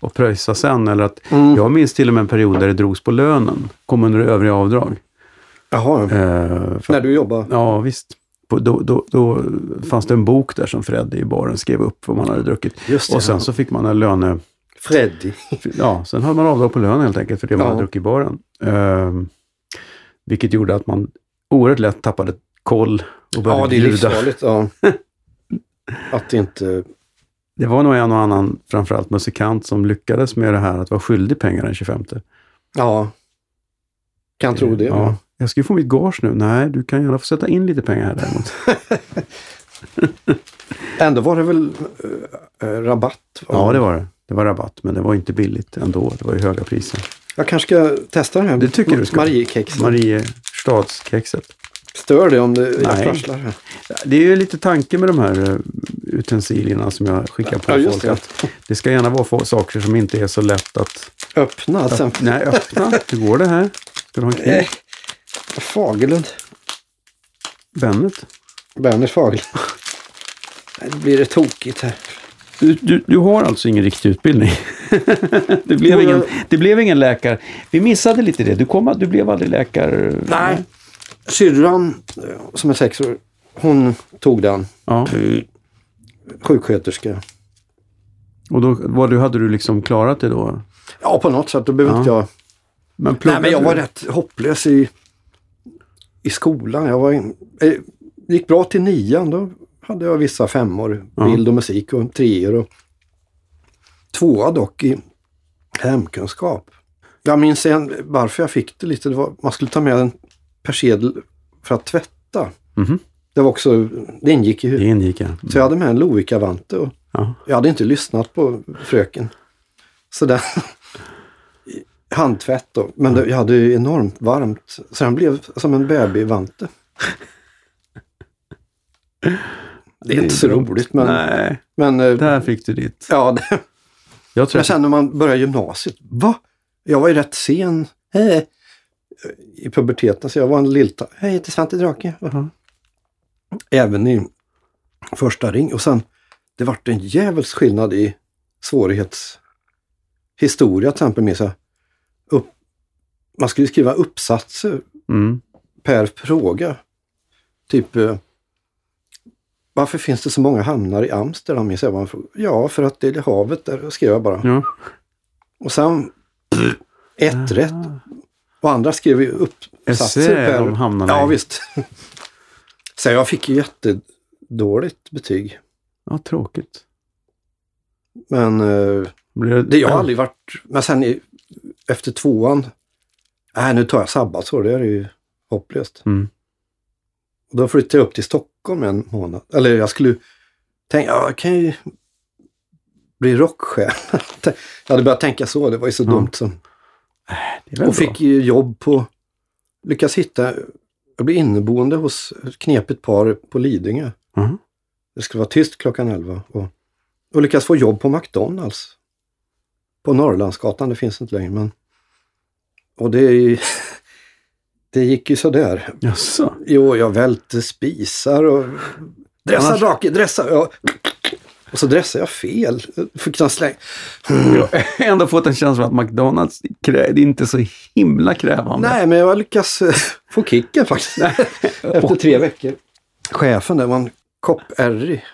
C: och pröjsa sen, eller att
A: Mm.
C: jag minns till och med en period där det drogs på lönen, kom under övriga avdrag.
A: Jaha,
C: Eh, för,
A: när du jobbade.
C: ja, visst. På, då, då, då fanns det en bok där som Freddy i baren skrev upp vad man hade druckit.
A: Just det.
C: Och sen så fick man en löne...
A: Freddy.
C: Ja, sen hade man avdrag på lönen helt enkelt för det man
A: Ja.
C: hade druckit i baren. Ehm, vilket gjorde att man oerhört lätt tappade koll och började
A: Ja, det är
C: bjuda.
A: livsfarligt. *laughs* Ja. Att inte...
C: Det var nog en och annan, framförallt musikant, som lyckades med det här att vara skyldig pengar den 25.
A: Ja. Kan tro det.
C: Ja. Jag ska ju få mitt gage nu. Nej, du kan gärna få sätta in lite pengar här däremot.
A: Ändå var det väl eh, eh, rabatt? va?
C: ja, det var det. Det var rabatt, men det var inte billigt ändå. Det var ju höga priser.
A: Jag kanske ska testa den här
C: Det tycker du ska.
A: Mariekexen.
C: Mariestadskexet.
A: Stör det om det, jag
C: Nej.
A: prasslar här?
C: Det är ju lite tanke med de här eh, utensilierna som jag skickar på
A: Ja, just
C: folk.
A: det.
C: Att det ska gärna vara få- saker som inte är så lätt att...
A: Öppna
C: att
A: alltså.
C: nej, öppna. Hur går det här? Ska du ha en kniv?
A: Nej. Fagerlund.
C: Bennet?
A: Berner Fagerlund. Nej, Nu blir det tokigt här.
C: Du, du, du har alltså ingen riktig utbildning? *laughs* det, blev
A: Jo, jag-
C: ingen, det blev ingen läkare. Vi missade lite det. Du, kom, du blev aldrig läkare?
A: Syrran eh, som är sex år, hon tog den.
C: Ja.
A: Sjuksköterska.
C: Och då var du, hade du liksom klarat det då?
A: Ja, på något sätt. Då behöver
C: Ja.
A: inte jag...
C: Men pluggade
A: Nej, men jag
C: du?
A: var rätt hopplös i, i skolan. Jag var in, eh, gick bra till nian. Då hade jag vissa femmor,
C: Ja.
A: bild och musik och treor. Och, tvåa dock i hemkunskap. Jag minns en, varför jag fick det lite. Det var, man skulle ta med en persedel för att tvätta.
C: Mhm.
A: Det var också, det ingick i
C: Det
A: huvudet.
C: ingick jag. Mm.
A: Så jag hade med en Lovikka-vante och
C: Ja.
A: jag hade inte lyssnat på fröken. Så den... Handtvätt då. Men det, jag hade ju enormt varmt. Så den blev som en babyvante. Det är inte så
C: dumt.
A: roligt men...
C: Nej,
A: men eh,
C: där fick du ditt.
A: ja, det,
C: Jag tror
A: men
C: att
A: sen när man börjar gymnasiet. Va? Jag var ju rätt sen eh, i puberteten så jag var en lillta. Hej, jag heter Svante Drake.
C: Jaha.
A: Även i första ring. Och sen, det vart en jävels skillnad i svårighetshistoria till exempel. Med så här, upp, man skulle skriva uppsatser
C: Mm.
A: per fråga. Typ, eh, varför finns det så många hamnar i Amsterdam? minns jag var en fråga. Ja, för att det är havet där, skrev jag bara.
C: Ja.
A: Och sen ett rätt. Och andra skrev ju uppsatser
C: Ah. Essä
A: per...
C: de hamnade
A: ja,
C: i.
A: visst. *laughs* Så jag fick ju jättedåligt betyg.
C: Ja, tråkigt.
A: Men eh,
C: Blir det,
A: det jag har aldrig varit... Men sen i, efter tvåan... Nej, nu tar jag sabbatsår. Det är ju hopplöst.
C: Mm.
A: Och då flyttade jag upp till Stockholm en månad. Eller jag skulle tänka, ja, jag kan ju bli rockstjärna. *laughs* jag hade börjat tänka så. Det var ju så
C: Ja. Äh,
A: dumt som...
C: Det är väl
A: Och fick ju jobb på, lyckas hitta, jag blev inneboende hos ett knepigt par på Lidingö.
C: bra. Mhm.
A: Det skulle vara tyst klockan 11 och, och lyckas få jobb på McDonalds. På Norrlandsgatan, det finns inte längre men. Och det, är ju- *laughs* det gick ju sådär.
C: Jaså?
A: Jo, jag välte spisar och dressa
C: Annars-
A: drake, dressa. Ja. Och så dressade jag fel. Fick jag släng.
C: Jag har ändå fått en känsla av att McDonalds krä, det är inte så himla krävande.
A: Nej, men jag lyckas eh, få kicken *laughs* faktiskt. Efter tre veckor. Chefen där var en kopp R,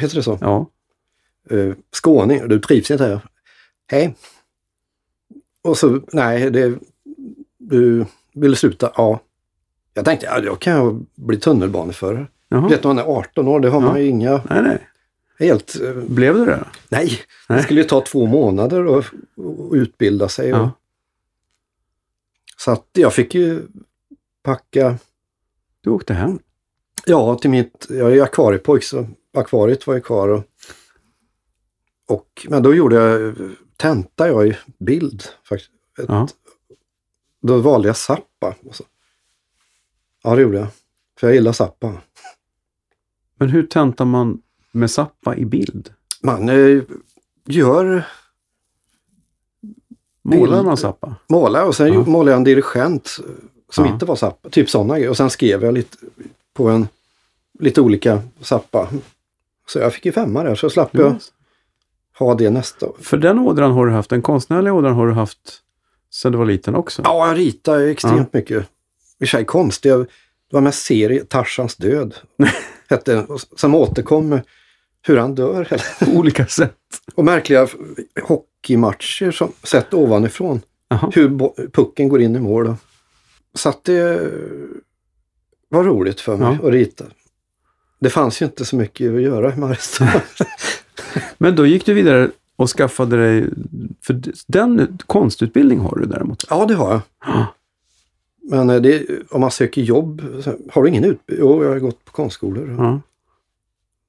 A: heter det så?
C: Ja.
A: Eh, Skåning, du trivs inte här. Hej. Och så, nej, det, du ville sluta? Ja. Jag tänkte, ja, då kan jag bli tunnelbaneförare.
C: Jaha.
A: Vet du, man är 18 år, det har man ju inga
C: Nej, nej.
A: helt... eh,
C: Blev du det?
A: Nej, det
C: Nej.
A: skulle ju ta två månader att att utbilda sig. Och,
C: Ja.
A: Så att jag fick ju packa
C: Du åkte hem?
A: Ja, till mitt, jag är ju akvariepojk så akvariet var ju kvar. Och, och, men då gjorde jag, tenta jag i bild faktiskt. Ett,
C: Ja.
A: Då valde jag Zappa. Och så. Ja, det gjorde jag. För jag gillar Zappa.
C: Men hur tentar man med Zappa i bild?
A: Man eh, gör,
C: Målar
A: Bild-
C: man Zappa?
A: målar och sen
C: Ja.
A: gjorde- målade jag en dirigent som
C: Ja.
A: inte var Zappa. Typ sådana grejer. Och sen skrev jag lite på en, lite olika Zappa. Så jag fick ju femma där, så slapp jag ha det nästa år.
C: För den ådran har du haft, den konstnärliga ådran har du haft sedan du var liten också?
A: Ja, jag ritar ju extremt mycket. I och för sig konst. Jag, det var med serie, Tarsans
C: *laughs*
A: död. hette, den. Och s- som återkom hur han dör.
C: På olika sätt?
A: Och märkliga f- hockeymatcher som sett ovanifrån.
C: Jaha.
A: Hur bo- pucken går in i mål. då. Så att det var roligt för mig
C: Ja.
A: att rita. Det fanns ju inte så mycket att göra i Mariestad.
C: *laughs* Men då gick du vidare och skaffade dig, för den konstutbildning har du däremot?
A: ja, det har jag.
C: Ja.
A: Men eh, det, om man söker jobb, så- har du ingen utbildning? Jo, jag har gått på konstskolor.
C: Ja.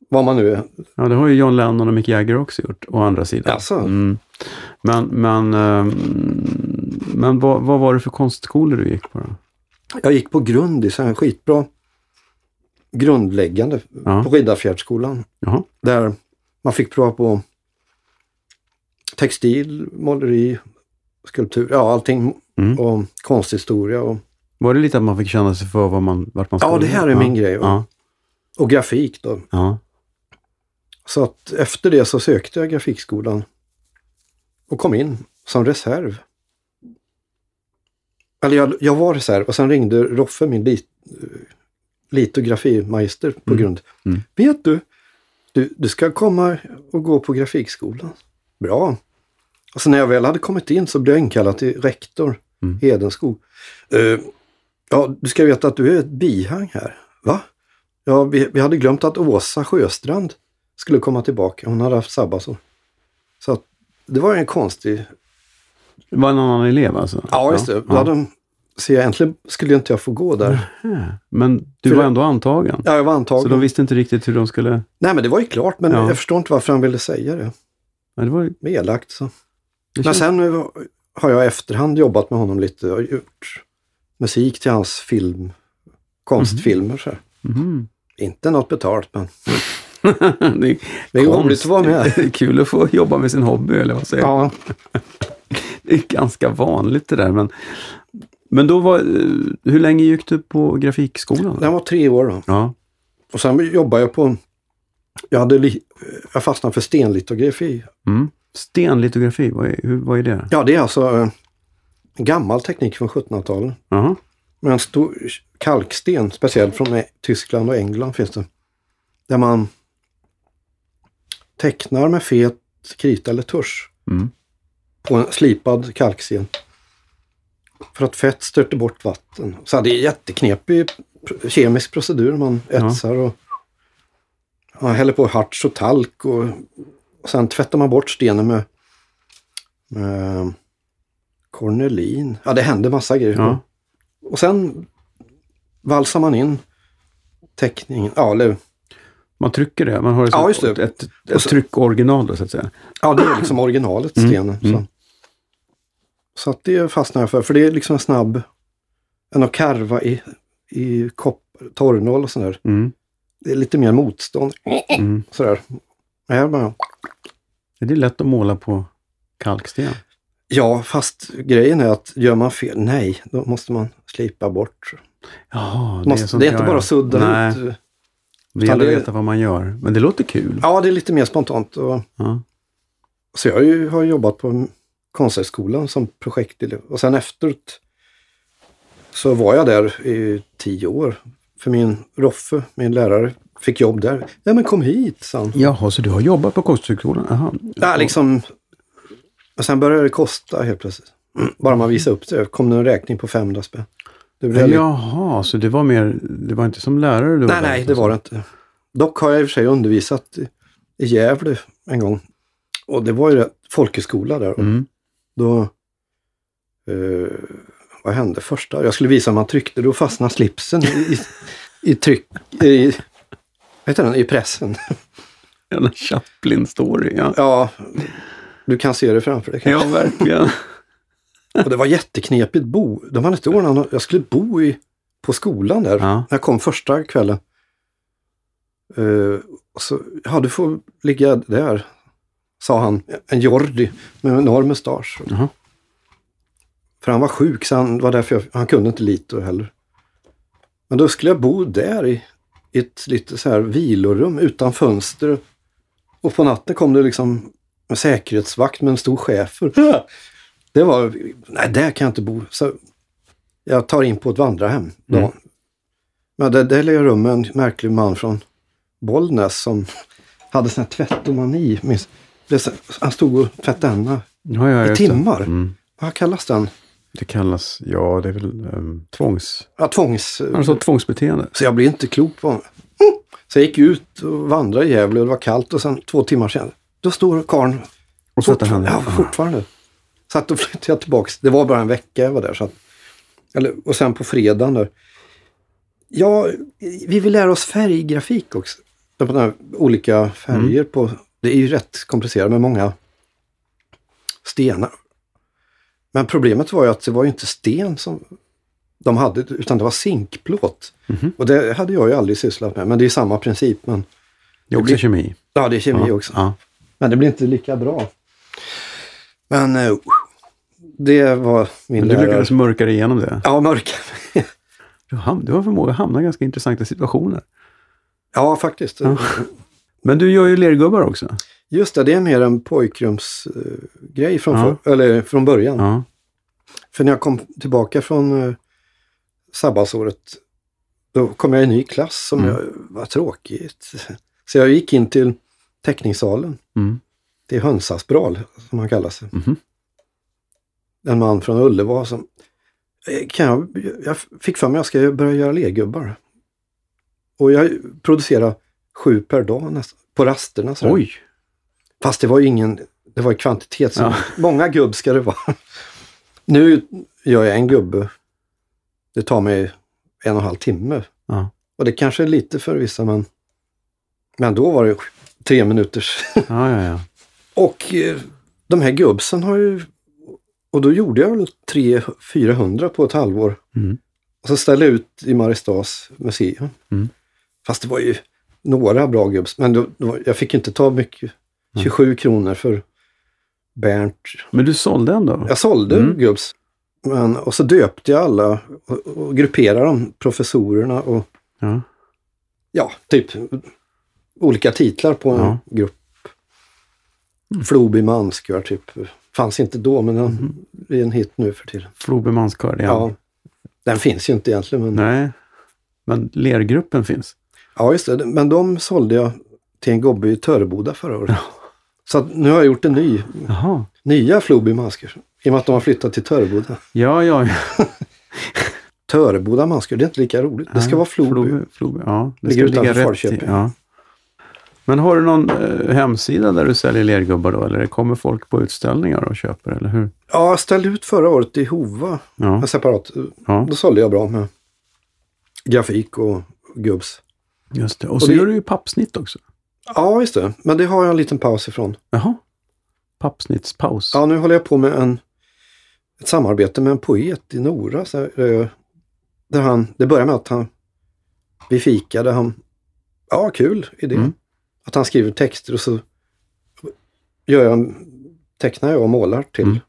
A: Vad man nu är.
C: ja, det har ju John Lennon och Mick Jagger också gjort, å andra sidan.
A: Alltså,
C: Mm. Men, men, ehm, men vad, vad var det för konstskolor du gick på då?
A: Jag gick på grund i så här skitbra grundläggande
C: Ja.
A: på Riddarfjärdsskolan.
C: Jaha.
A: Där man fick prova på textil, måleri, skulptur, ja allting.
C: Mm.
A: Och konsthistoria och,
C: Var det lite att man fick känna sig för vad man, vart man
A: Ja, det här är min grej.
C: Ja,
A: och grafik då.
C: ja.
A: Så att efter det så sökte jag grafikskolan och kom in som reserv. Eller jag, jag var reserv och sen ringde Roffe, min lit, litografimeister, på
C: Mm.
A: grund.
C: Mm.
A: Vet du, du, du ska komma och gå på grafikskolan. Bra. Och sen när jag väl hade kommit in så blev jag inkallad till rektor
C: Mm.
A: Hedenskog. Eh, ja, du ska veta att du är ett bihang här. Va? Ja, vi, vi hade glömt att Åsa Sjöstrand skulle komma tillbaka. Hon hade haft sabbatsår. Så att, det var en konstig...
C: Det var en annan elev alltså?
A: Ja, Mm. just det. Då hade de, så jag egentligen skulle inte jag få gå där.
C: Ja. Men du
A: För
C: var
A: det-
C: ändå antagen?
A: Ja, jag var
C: Så
A: antagen.
C: de visste inte riktigt hur de skulle...
A: Nej, men det var ju klart. Men
C: Ja.
A: jag förstår inte varför han ville säga det.
C: Ja, det var, ju-
A: Det är elakt. Så.
C: det
A: Men
C: känns-
A: sen eh, har jag i efterhand jobbat med honom lite och gjort musik till hans film, konstfilmer. Så här.
C: Mhm. *laughs*
A: Inte något betalt, men
C: det är,
A: det är roligt
C: konst.
A: att vara med.
C: *laughs* Det är Kul att få jobba med sin hobby, eller vad säger jag?
A: Ja,
C: Det är ganska vanligt det där. Men, men då var... eh, Hur länge gick du på grafikskolan?
A: den var tre år då.
C: Ja.
A: Och sen jobbade jag på... Jag, hade li, jag fastnade för stenlitografi.
C: Mm. Stenlitografi, vad är, hur, vad är det?
A: Ja, det är alltså eh, en gammal teknik från 1700-talet.
C: Jaha.
A: Med en stor kalksten, speciellt från eh, Tyskland och England finns det. Där man tecknar med fet krita eller tusch
C: Mm.
A: på en slipad kalksten. För att fett störter bort vatten. Så det är jätteknepig pr- kemisk procedur. Man
C: Ja.
A: etsar och man häller på harts och talk. Och, och sen tvättar man bort stenen med, med kornelin. Ja, det händer massa grejer.
C: Ja.
A: Och sen valsar man in teckningen. Ja, eller,
C: Man trycker det, man har ett,
A: Ja, just det.
C: ett, ett, ett tryckoriginal då, så att säga.
A: ja det är liksom originalet, stenen.
C: mm.
A: Så, så att det fastnar jag för, för det är liksom en snabb... Än att karva i, i koppar, torrnål och sådär.
C: Mm.
A: Det är lite mer motstånd.
C: Mm.
A: Sådär. Men Här bara,
C: Är det lätt att måla på kalksten?
A: ja, fast grejen är att gör man fel, nej, då måste man slipa bort.
C: Jaha, det
A: Det, måste,
C: sånt
A: det är inte
C: jag gör.
A: bara att sudda
C: Nej,
A: ut.
C: det gäller att
A: det-
C: veta vad man gör. Men det låter kul.
A: Ja, det är lite mer spontant. Och,
C: Ja.
A: Så jag har ju- har jobbat på Konsthögskolan som projektelev. Och sen efteråt så var jag där i tio år. För min Roffe, min lärare, fick jobb där. Ja men kom hit, sa han.
C: Jaha, så du har jobbat på Konsthögskolan? Jaha.
A: Ja, liksom. Och sen började det kosta helt plötsligt. *clears throat* Bara man visade upp det kom det en räkning på 500 spänn. Det blev lite-
C: Jaha, så det var mer, det var inte som lärare du
A: nej, nej, det var det inte. Dock har jag i och för sig undervisat i- i Gävle en gång. Och det var ju rätt- folkhögskola där. Och
C: Mm.
A: Då... eh, vad hände första? Jag skulle visa hur man tryckte. Då fastnade slipsen i, i, i tryck... I, vad heter den? I pressen.
C: En Chaplin-story, ja.
A: Ja, du kan se det framför dig.
C: Ja,
A: *laughs*
C: verkligen.
A: Och det var jätteknepigt bo. De hade inte ordnat något. Jag skulle bo i, på skolan där.
C: Ja.
A: När jag kom första kvällen. Eh, och så, ja, du får ligga där, sa han. En Jordi med en enorm mustasch.
C: Jaha.
A: För han var sjuk, så han, det var därför jag, han kunde inte lito heller. Men då skulle jag bo där i, i ett lite så här vilorum utan fönster. Och på natten kom det liksom en säkerhetsvakt med en stor
C: *laughs*
A: schäfer. Det var, nej där kan jag inte bo. Så jag tar in på ett vandrarhem. Då.
C: Mm.
A: Men där, där låg jag rum med en märklig man från Bollnäs som hade sån här tvättomani. minns- Det är så- Han stod och tvättade händerna.
C: Ja, ja,
A: I
C: just det.
A: timmar?
C: Mm.
A: Vad kallas den?
C: Det kallas, ja, det är väl um, tvångs...
A: Ja, tvångs...
C: Alltså tvångsbeteende.
A: Så jag blev inte klok på honom. Mm. Så jag gick ut och vandrade i Gävle och det var kallt och sen två timmar sen, då står karln
C: Och sätta händerna.
A: ja, fortfarande. Så att då flyttade jag tillbaks. Det var bara en vecka jag var där. Så att, eller, och sen på fredagen där. Ja, vi vill lära oss färggrafik också. De här olika färger
C: Mm.
A: på... Det är ju rätt komplicerat med många stenar. Men problemet var ju att det var ju inte sten som de hade, utan det var zinkplåt.
C: Mhm.
A: Och det hade jag ju aldrig sysslat med, men det är samma princip. Men,
C: Det är också kemi.
A: ja, det är kemi
C: Ja,
A: också.
C: Ja.
A: Men det blir inte lika bra. Men eh, det var min
C: Men du
A: lärare.
C: lyckades mörka dig igenom det.
A: Ja, mörka.
C: Du, ham- du har förmåga att hamna i ganska intressanta situationer.
A: ja, faktiskt.
C: Men du gör ju lergubbar också.
A: Just det, det är mer en pojkrumsgrej från,
C: Ja.
A: för, eller från början.
C: Ja.
A: För när jag kom tillbaka från eh, sabbatsåret, då kom jag i en ny klass
C: Mm.
A: som jag, var tråkigt. *laughs* Så jag gick in till teckningssalen,
C: Mm.
A: till Hönsasbral som han kallas.
C: Mhm.
A: En man från Ullevål som, eh, kan jag, jag fick för mig att jag ska börja göra lergubbar. Och jag producerade sju per dag nästan, på rasterna. sådär.
C: Oj!
A: Fast det var ju ingen, det var ju kvantitet. som-
C: Ja.
A: Många gubb ska det vara. Nu gör jag en gubbe. Det tar mig en och en halv timme.
C: Ja.
A: Och det kanske är lite för vissa, men, men då var det tre minuters.
C: Ja, ja, ja.
A: och eh, de här gubbsen har ju... Och då gjorde jag väl 300-400 på ett halvår.
C: Mm.
A: Och så ställde jag ut i Maristads museum.
C: Mm.
A: Fast det var ju några bra gubbs, men då, då, jag fick inte ta mycket.
C: Mm.
A: 27 kronor för Bernt.
C: Men du sålde ändå?
A: Jag sålde
C: Mm.
A: gubbs. Men, och så döpte jag alla och, och grupperade dem, professorerna och
C: Ja.
A: ja, typ olika titlar på en
C: Ja.
A: grupp. Floby Manskör typ. Fanns inte då, men den är en hit nu för tiden.
C: Floby manskör, Mhm. ja.
A: Ja. Den finns ju inte egentligen, men
C: Nej. Men lergruppen finns.
A: Ja, just det. Men de sålde jag till en gobbe i Töreboda förra året. Så att nu har jag gjort en ny,
C: Jaha.
A: nya Floby masker. I och med att de har flyttat till Töreboda.
C: Ja, ja. ja.
A: Töreboda masker, det är inte lika roligt. Det ska vara Floby.
C: Floby, Floby. Ja, det
A: Ligger
C: ska ligga
A: utanför
C: rätt i.
A: Falköping.
C: Ja. Men har du någon eh, hemsida där du säljer lergubbar då? Eller kommer folk på utställningar och köper, eller hur?
A: Ja, jag ställde ut förra året i Hova,
C: Ja.
A: en separat.
C: Ja.
A: Då sålde jag bra med grafik och gubbs.
C: Just det. Och så
A: det-
C: gör du ju pappsnitt också.
A: Ja, just det. Men det har jag en liten paus ifrån.
C: Jaha. Pappsnittspaus.
A: Ja, nu håller jag på med en, ett samarbete med en poet i Nora. Så, här, eh, där han, det börjar med att han, vi fikade, han, ja kul idé.
C: Mm.
A: Att han skriver texter och så gör jag, en- tecknar jag och målar till.
C: Mm.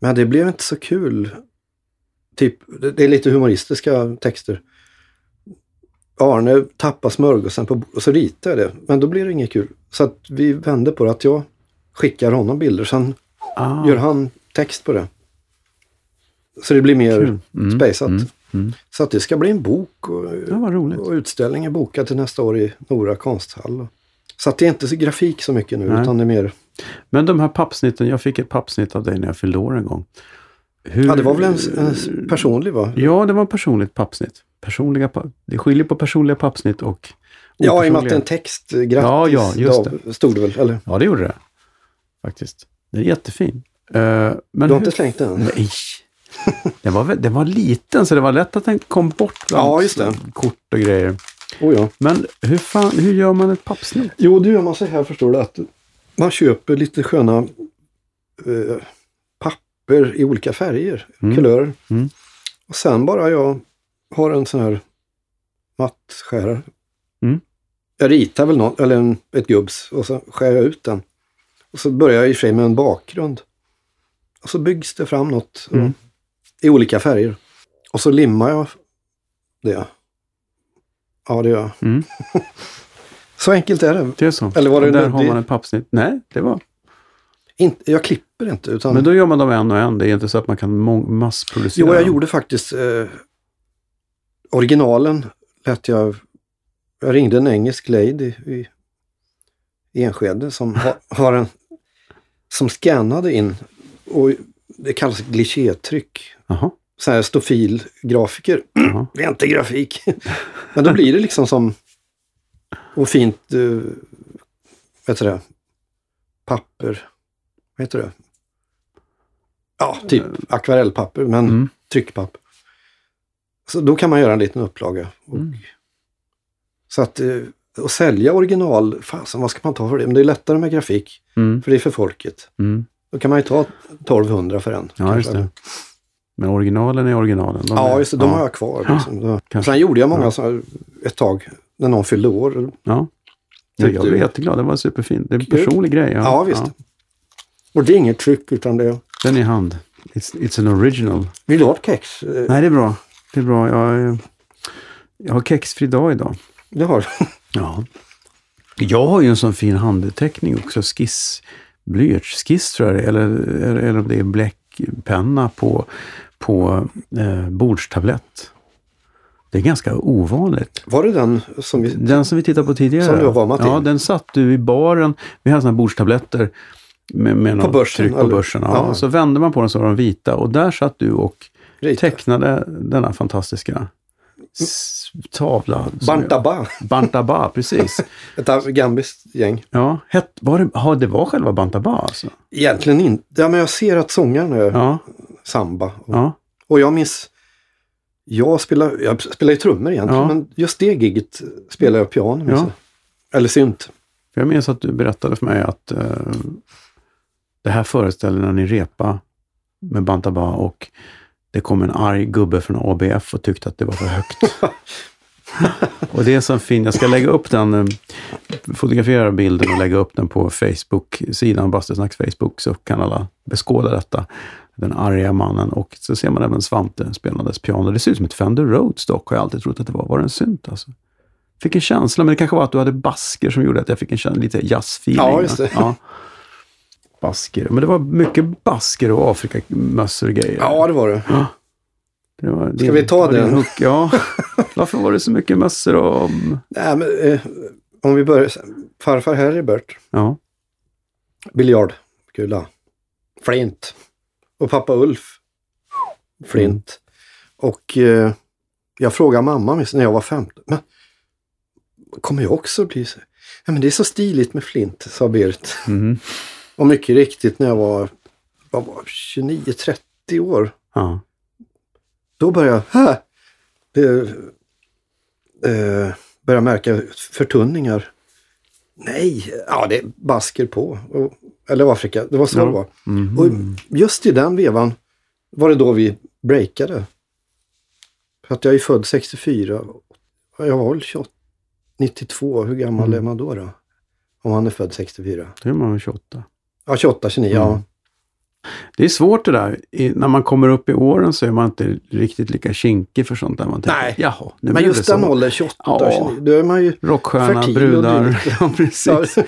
A: Men det blev inte så kul. Typ, det, det är lite humoristiska texter. Arne tappar smörgåsen på, och så ritar jag det. Men då blir det inget kul. Så att vi vände på det, att jag skickar honom bilder. Sen
C: Ah,
A: gör han text på det. Så det blir mer
C: kul. Mm,
A: spejsat.
C: Mm. Mm.
A: Så att det ska bli en bok och,
C: Ja, vad roligt.
A: och utställning är bokad till nästa år i Nora konsthall. Så att det är inte så grafik så mycket nu,
C: Nej.
A: utan det är mer...
C: Men de här pappsnitten, jag fick ett pappsnitt av dig när jag fyllde år en gång. Hur,
A: Ja, det var väl en,
C: Eh,
A: en personlig va?
C: Ja, det var ett personligt pappsnitt. Personliga pa... Det skiljer på personliga pappsnitt och
A: Ja, i och med att
C: opersonliga.
A: det är en text. eh, Grattis,
C: Ja, ja, just
A: Dav, stod det väl? Eller?
C: Ja, det gjorde det. Faktiskt. Den är jättefin. Eh, men
A: Du har
C: hur-
A: inte slängt den? än?
C: Nej! Den var, väl- den var liten, så det var lätt att den kom bort bland
A: Ja, just det.
C: kort och grejer.
A: Oh, ja.
C: Men hur, fan, hur gör man ett pappsnitt?
A: Jo, det gör man så här förstår du, att man köper lite sköna eh, papper i olika färger,
C: Mm.
A: kulörer.
C: Mm.
A: Och sen bara jag har en sån här mattskärare.
C: Mm.
A: Jag ritar väl någon, eller en, ett gubbs och så skär jag ut den. Och så börjar jag i och för sig med en bakgrund. Och så byggs det fram något och-
C: Mm.
A: i olika färger. Och så limmar jag det. Ja, det gör jag.
C: Mm.
A: så enkelt är det.
C: Det är så.
A: Eller var det
C: Och där
A: en-
C: har
A: det-
C: man ett pappsnitt. Nej, det var...
A: Inte, jag klipper inte, utan...
C: Men då gör man dem en och en. Det är inte så att man kan mång- massproducera
A: Jo, jag
C: dem.
A: gjorde faktiskt eh, originalen. Lät jag, jag ringde en engelsk lady i, i Enskede som, ha, har en, som scannade in. Och det kallas glichétryck.
C: Jaha.
A: Så här stofilgrafiker.
C: jaha.
A: Det är inte grafik. *laughs* Men då blir det liksom som... Och fint... Eh, vet du det? Papper. Vad heter det? Ja, typ akvarellpapper, men
C: Mm.
A: tryckpapper. Så då kan man göra en liten upplaga. Och,
C: Mm.
A: Så att... Eh, och sälja original, fasen vad ska man ta för det? Men det är lättare med grafik,
C: Mm.
A: för det är för folket.
C: Mm.
A: Då kan man ju ta 1200 för en.
C: Ja, just det. Men originalen är originalen. De
A: Ja,
C: är,
A: just det. De har jag kvar. Liksom.
C: kanske.
A: Sen gjorde jag många så här, ett tag när någon fyllde år.
C: Ja. Ja, jag blev
A: du.
C: jätteglad. Det var superfint. Det är en personlig grej. Ja,
A: Ja, visst. Och det är inget tryck utan det är...
C: Den är i hand. It's, it's an original.
A: Vill du ha ett kex? Eh,
C: Nej, det är bra. Det är bra. Jag, eh, jag har kexfri dag idag.
A: Det har du.
C: Ja. Jag har ju en sån fin handteckning också. Skiss, blyertsskiss tror jag det är. eller, eller, eller om det är bläckpenna på, på eh, bordstablett. Det är ganska ovanligt.
A: Var det den som vi...
C: Den som vi tittade på tidigare.
A: Som du har varmat
C: Ja,
A: in.
C: den satt du i baren. Vi hade såna här bordstabletter med, med något
A: börsen,
C: tryck på
A: eller?
C: börsen. Ja.
A: Ja.
C: Så vände man på den så var de vita och där satt du och
A: Rita.
C: tecknade denna fantastiska s- tavla. som
A: Bantaba?
C: jag- Bantaba,
A: *laughs*
C: precis.
A: Ett argambiskt gäng.
C: Ja, het, var det, ja, det var själva Bantaba alltså?
A: Egentligen inte. Ja, men jag ser att sångaren är
C: Ja,
A: samba. Och,
C: ja.
A: och jag minns... Jag spelar, jag spelar ju trummor egentligen,
C: Ja.
A: men just det giget spelar jag piano. minns
C: Ja.
A: jag. Eller synt.
C: För jag minns att du berättade för mig att eh, det här föreställer när ni repa med Bantaba och det kom en arg gubbe från ABF och tyckte att det var
A: *laughs*
C: för högt. och det är så fin, jag ska lägga upp den, eh, fotografera bilden och lägga upp den på Facebook-sidan, Bastusnacks Facebook, så kan alla beskåda detta. Den arga mannen och så ser man även Svante spelandes piano. Det ser ut som ett Fender Rhodes dock, har jag alltid trott att det var. Var det en synt alltså? Fick en känsla, men det kanske var att du hade basker som gjorde att jag fick en känsla, lite jazzfeeling.
A: Ja, just det.
C: Ja. Basker. Men det var mycket basker och Afrikamössor och grejer.
A: Ja, det var det.
C: Det var
A: Ska vi ta
C: var din
A: den? *laughs*
C: hook- Ja. Varför var det så mycket mössor och...
A: Nej, men, eh, om vi börjar... Farfar Heribert,
C: Ja.
A: biljardkula, flint. Och pappa Ulf, flint. Och eh, jag frågade mamma minns jag, när jag var 15. Men, kommer jag också bli så? Ja, men det är så stiligt med flint, sa Berit.
C: Mhm.
A: Och mycket riktigt när jag var, vad var 29-30 år.
C: ja.
A: Då började jag "Hä?" det, eh, började märka förtunningar. Nej, ja det är basker på. Och, eller Afrika, det var så
C: Ja.
A: det var.
C: Mhm.
A: Och just i den vevan var det då vi breakade. För att jag är född 64. och Jag var väl 28, 92, hur gammal
C: Mm.
A: är man då? då? Om man är född 64.
C: Då är man väl 28.
A: Ja, 28, 29,
C: Mm.
A: ja.
C: Det är svårt det där. I, när man kommer upp i åren så är man inte riktigt lika kinkig för sånt där. Man tänker,
A: Nej.
C: jaha, nu
A: Men
C: blev det
A: just den
C: så.
A: åldern, 28,
C: Ja.
A: 29, då är man ju
C: Rockstjärna,
A: Fertil och
C: brudar.
A: dyrt.
C: *laughs* Ja, precis.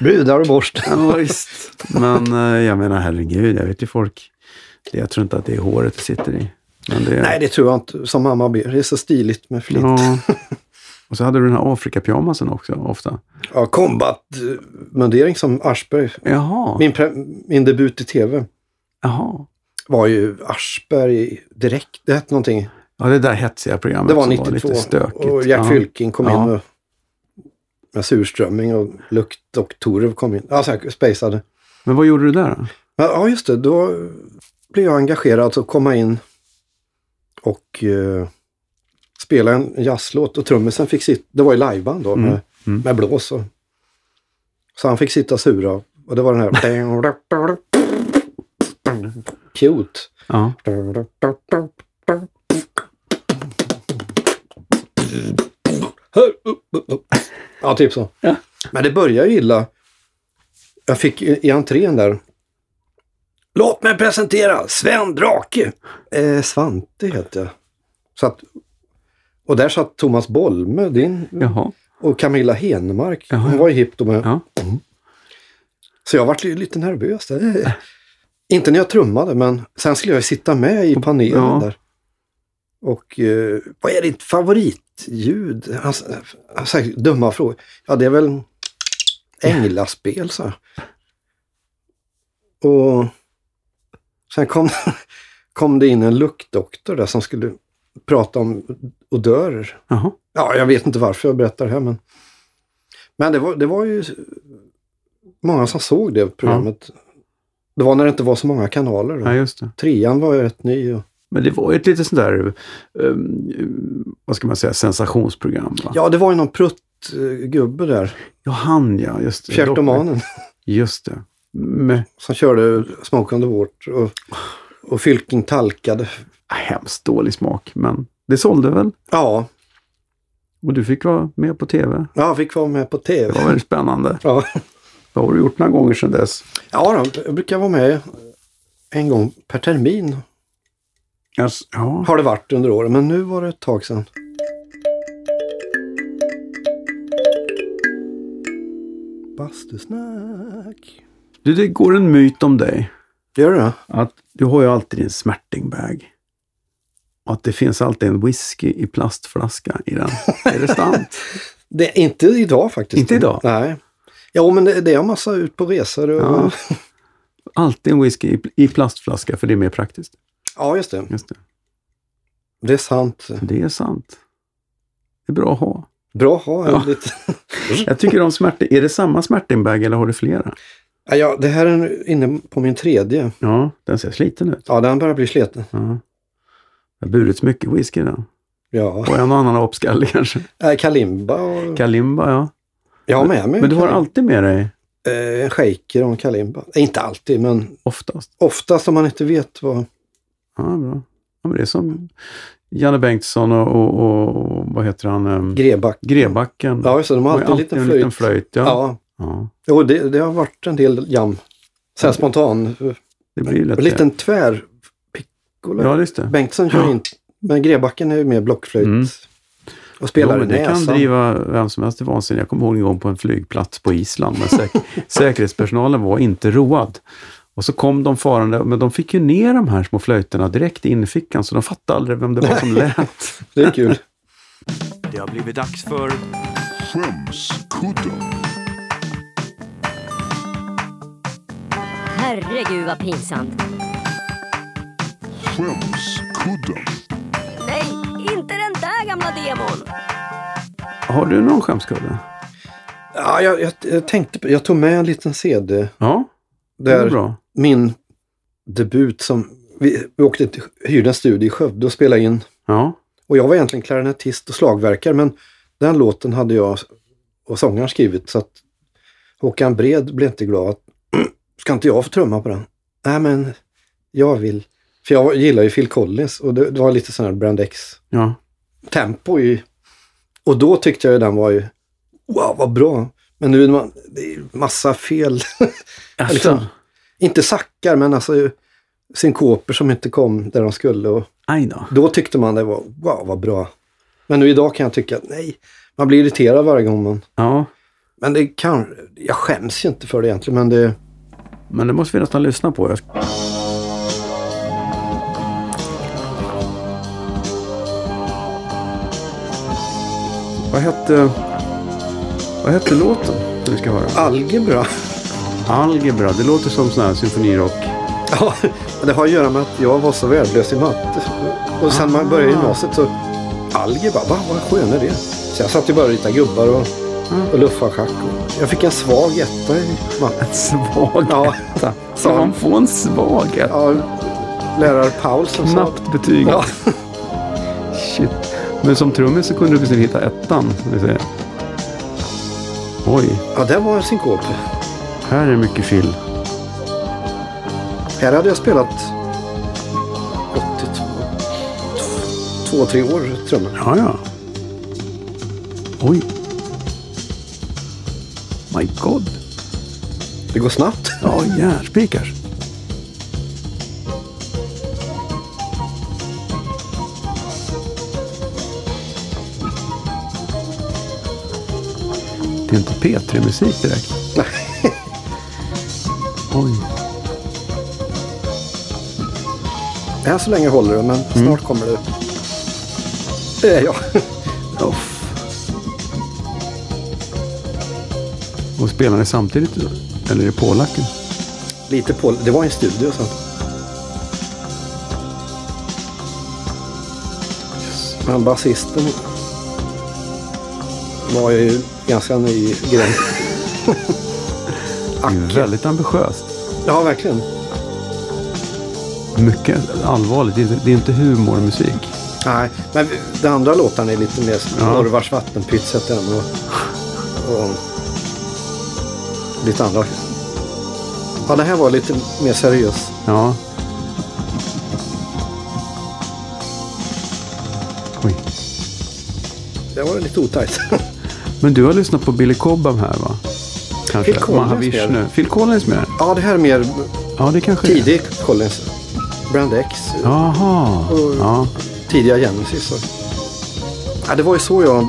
A: brudar och borst.
C: Ja, visst. Men eh, jag menar, herregud, jag vet ju folk. Det, jag tror inte att det är håret det sitter i. Men
A: *laughs*
C: det,
A: Nej, det tror jag inte. Som mamma ber. Det är så stiligt med flint. Ja,
C: Ja. *laughs* Och så hade du den här Afrikapyjamasen också, ofta.
A: kombatmundering som Aschberg.
C: Jaha,
A: Min, pre- min debut i tv
C: jaha.
A: var ju Aschberg direkt. Det hette någonting.
C: Ja, det där hetsiga programmet
A: Det var
C: som
A: 92.
C: var lite stökigt.
A: och Jack
C: ja.
A: Fylking kom
C: Ja.
A: in med, med surströmming och lukt och Torev kom in. Ja, så här spejsade.
C: Men vad gjorde du där då?
A: Men, ja, just det. Då blev jag engagerad att komma in och eh, spela en jazzlåt. Och trummisen fick sitta, det var ju liveband då, med,
C: mm.
A: med blås. Och, så han fick sitta sura. Och det var den
C: *laughs*
A: här... Cute.
C: Ja.
A: Ja, typ så.
C: Ja.
A: Men det började ju illa. Jag fick i i entrén där. Låt mig presentera Sven Drake. Eh, Svante heter jag. Så att, och där satt Thomas Bolme, din,
C: Jaha.
A: och Camilla Henmark.
C: Jaha,
A: Hon
C: ja.
A: var ju hipp då med.
C: Ja.
A: Så jag vart ju lite nervös där. Eh, Inte när jag trummade, men sen skulle jag ju sitta med i panelen
C: Ja.
A: där. Och eh, vad är ditt favoritljud? Han, s- han sa dumma frågor. Ja, det är väl änglaspel, så. Och sen kom, *laughs* kom det in en luktdoktor där som skulle prata om odörer.
C: Jaha.
A: Ja, jag vet inte varför jag berättar det här, men... Men det var, det var ju många som såg det programmet. Det var när det inte var så många kanaler. Då.
C: Ja, just det.
A: Trean var ju rätt ny. Och...
C: Men det var ju ett lite sånt där, ehm, vad ska man säga, sensationsprogram va?
A: Ja, det var ju någon pruttgubbe där,
C: ja han ja, just det.
A: Fjärtomanen,
C: Just det. äh, Men,
A: som körde Smoke on the Water och, och Fylking talkade
C: hemskt dålig smak, men det sålde väl?
A: Ja,
C: Och du fick vara med på tv.
A: jag fick vara med på
C: Det
A: tv.
C: var väldigt spännande.
A: Ja,
C: Vad har du gjort några gånger sedan dess?
A: ja då, jag brukar vara med en gång per termin
C: Alltså, ja,
A: har det varit under åren, men nu var det ett tag sedan. Bastusnack.
C: du, det går en myt om dig.
A: Gör du det?
C: Att du har ju alltid din smärtingbag. Och att det finns alltid en whisky i plastflaska i den. Är det sant?
A: det? är Inte idag faktiskt.
C: Inte idag?
A: Nej. Ja, men det, det är en massa ut på resor. Och,
C: Ja.
A: ja.
C: Alltid en whisky i- i plastflaska, för det är mer praktiskt.
A: just det.
C: Just det.
A: Det är sant.
C: det är sant. Det är bra att ha.
A: Bra att ha en
C: Ja.
A: lite.
C: Jag tycker om smärta. Är det samma smärtingbag eller har du flera?
A: Ja, Ja, det här är inne på min tredje.
C: Ja, den ser sliten ut.
A: Ja, den börjar bli sliten.
C: Ja. Det har burits mycket whisky i den.
A: Ja.
C: Och en och annan apskalle kanske.
A: Äh, Kalimba och...
C: Kalimba, ja.
A: Jag har med mig
C: Men du har
A: Kalimba.
C: alltid med dig,
A: Eh, en shaker och en kalimba. Eh, inte alltid, men
C: oftast.
A: oftast om man inte vet vad...
C: Ja, bra. Ja, men det är som Janne Bengtsson och, och, och, och vad heter han, ehm,
A: Greback.
C: Grebacken.
A: Ja, just det. De har
C: De har
A: alltid en liten flöjt.
C: ja. Ja.
A: Ja, Jo, det, det har varit en del jam. Sen spontan.
C: Det blir ju lätt
A: En liten tvär piccolo.
C: det. Ja, just det.
A: Bengtsson kör
C: Ja.
A: in. Men Grebacken är ju mer blockflöjt.
C: Mm.
A: Och spelar alltså.
C: jo,
A: i
C: men det
A: näsan.
C: kan driva vem som helst till vansinne. Jag kommer ihåg en gång på en flygplats på Island, men säk
A: *laughs*
C: säkerhetspersonalen var inte road. Och så kom de farande, men de fick ju ner de här små flöjterna direkt i infickan, så de fattade aldrig vem det var
A: *laughs*
C: som lät.
A: Det är
C: *laughs*
A: kul.
D: Det har blivit dags för
E: Skämskudden.
F: Herregud vad pinsamt.
E: Skämskudden.
F: Nej, inte den där gamla demon.
C: Har du någon skämskudde?
A: Ja, jag, jag, jag tänkte på, jag tog med en liten CD.
C: Ja, det är
A: Där
C: bra.
A: min debut som... Vi, vi åkte till, hyrde en studio i Skövde och spelade in
C: Ja.
A: Och jag var egentligen klarinettist och slagverkare men den låten hade jag och sångaren skrivit så att Håkan Bred blev inte glad. Att, *clears throat* Ska inte jag få trumma på den? Nej men jag vill. För jag gillar ju Phil Collins och det, det var lite sån här Brand X
C: ja.
A: tempo i... Och då tyckte jag ju den var ju... Wow vad bra! Men nu är man, det är ju massa fel. *laughs* liksom,
C: Alltså.
A: inte sackar men alltså synkoper som inte kom där de skulle. Och,
C: Aj då.
A: då tyckte man det var, wow vad bra. Men nu idag kan jag tycka att nej, man blir irriterad varje gång man...
C: Ja,
A: Men det kan... Jag skäms ju inte för det egentligen, men det...
C: men det måste vi nästan lyssna på. Jag- Vad hette, vad hette låten som vi ska höra?
A: Algebra.
C: Algebra. Det låter som sån här symfonirock.
A: *laughs* Ja, det har att göra med att jag var så värdelös i matte. Och sen man började gymnasiet så... Algebra, va, vad skön är det? Så jag satt ju bara och ritade gubbar och, och luffade schack. Och jag fick en svag etta i matte.
C: En svag
A: Ja.
C: etta. Ska man få en svag etta?
A: Ja, lärare Paulsen sa...
C: Knappt betyg.
A: Ja, *laughs*
C: Shit. Men som trummis så kunde du precis hitta ettan. Som vi säger. Oj,
A: ja det var en synkop.
C: här är mycket fill.
A: Här hade jag spelat 82, två, tre år trummor.
C: Ja, ja. Oj. My God.
A: Det går snabbt.
C: Ja, järnspikar. Det är inte P3-musik direkt. Oj.
A: Än så länge håller det, men snart kommer det. Eh, ja. *laughs*
C: Uff. Och spelar ni samtidigt? då? Eller är det pålacken?
A: Lite på. Det var i en studio så. Men basisten var ju ganska ny grej.
C: Det är väldigt ambitiöst.
A: Ja, verkligen.
C: Mycket allvarligt. Det är inte- Det är inte humormusik.
A: Nej, men den andra låten är lite mer som
C: Ja.
A: Norvars vattenpytt sett den och, och lite andra. Ja, det här var lite mer seriös.
C: Ja. Oj.
A: Det var lite otajt.
C: Men du har lyssnat på Billy Cobham här va? Kanske.
A: Phil Collins
C: Mahavishnu.
A: med.
C: Phil Collins med?
A: ja, det här är mer
C: Ja, det kanske det är.
A: tidig Collins. Brand X,
C: Jaha.
A: Mm.
C: Ja.
A: tidiga Genesis. Och... Ja, det var ju så jag...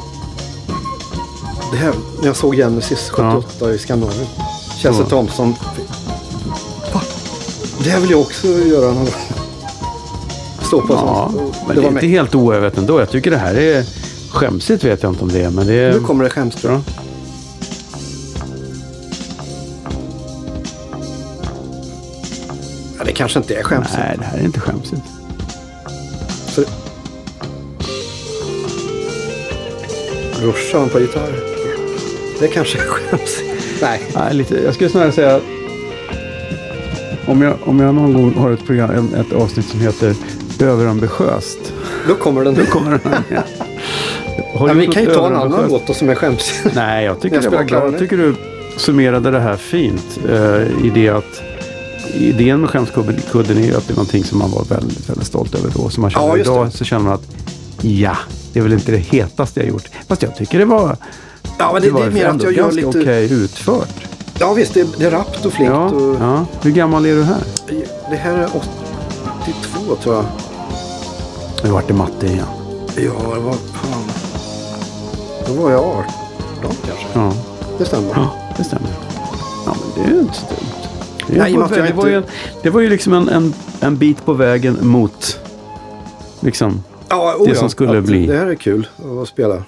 A: Det här, när jag såg Genesis 78 i Skandinavien. Kjell
C: Så.
A: Thompson. Va? Det här vill jag också göra någon gång. Stå på
C: ja.
A: sånt. Det
C: Men det
A: var
C: är inte
A: mig.
C: helt oövet ändå. Jag tycker det här är... Skämsigt vet jag inte om det är, men det är...
A: Nu kommer det skämt.
C: Ja.
A: Ja, det kanske inte är skämt.
C: Nej, det här är inte skämsigt.
A: Så... Brorsan på gitarr. Det kanske är skäms. Nej.
C: Nej, lite, jag skulle snarare säga att om jag, om jag någon gång har ett, program, en- ett avsnitt som heter Överambitiöst. *laughs*
A: Då kommer den.
C: Kommer den här med.
A: *laughs*
C: Har
A: Ja,
C: du
A: vi
C: gjort
A: kan ju
C: något
A: ta en annan
C: överambitiöst?
A: låt då som är skämsig.
C: Nej, jag tycker,
A: Jag
C: det
A: spelar
C: var bra.
A: klart.
C: jag tycker du summerade det här fint. Eh, I det att idén med skämskudden är ju att det är någonting som man var väldigt, väldigt stolt över då. Så man känner
A: Ja, just
C: idag
A: det.
C: så känner man att ja, det är väl inte det hetaste jag gjort. Fast jag tycker det var,
A: *laughs* Ja, men det, det
C: var
A: är mer att
C: ändå
A: jag gör
C: ganska
A: lite...
C: okej utfört.
A: Ja, visst. Det, det är rappt och flinkt.
C: Ja,
A: och...
C: ja. Hur gammal är du här?
A: Det här är 82 tror jag.
C: Nu vart det matte igen.
A: Ja, det var fan. Då var jag 18 kanske.
C: Ja,
A: Det stämmer.
C: ja det stämmer. Ja, men det är ju inte så dumt. Det,
A: Nej, i och med att
C: var,
A: jag
C: det, var
A: inte-
C: ju, det var ju liksom en, en, en bit på vägen mot liksom,
A: Ja, oh
C: Det
A: ja,
C: som skulle
A: att
C: bli.
A: Det här är kul att spela.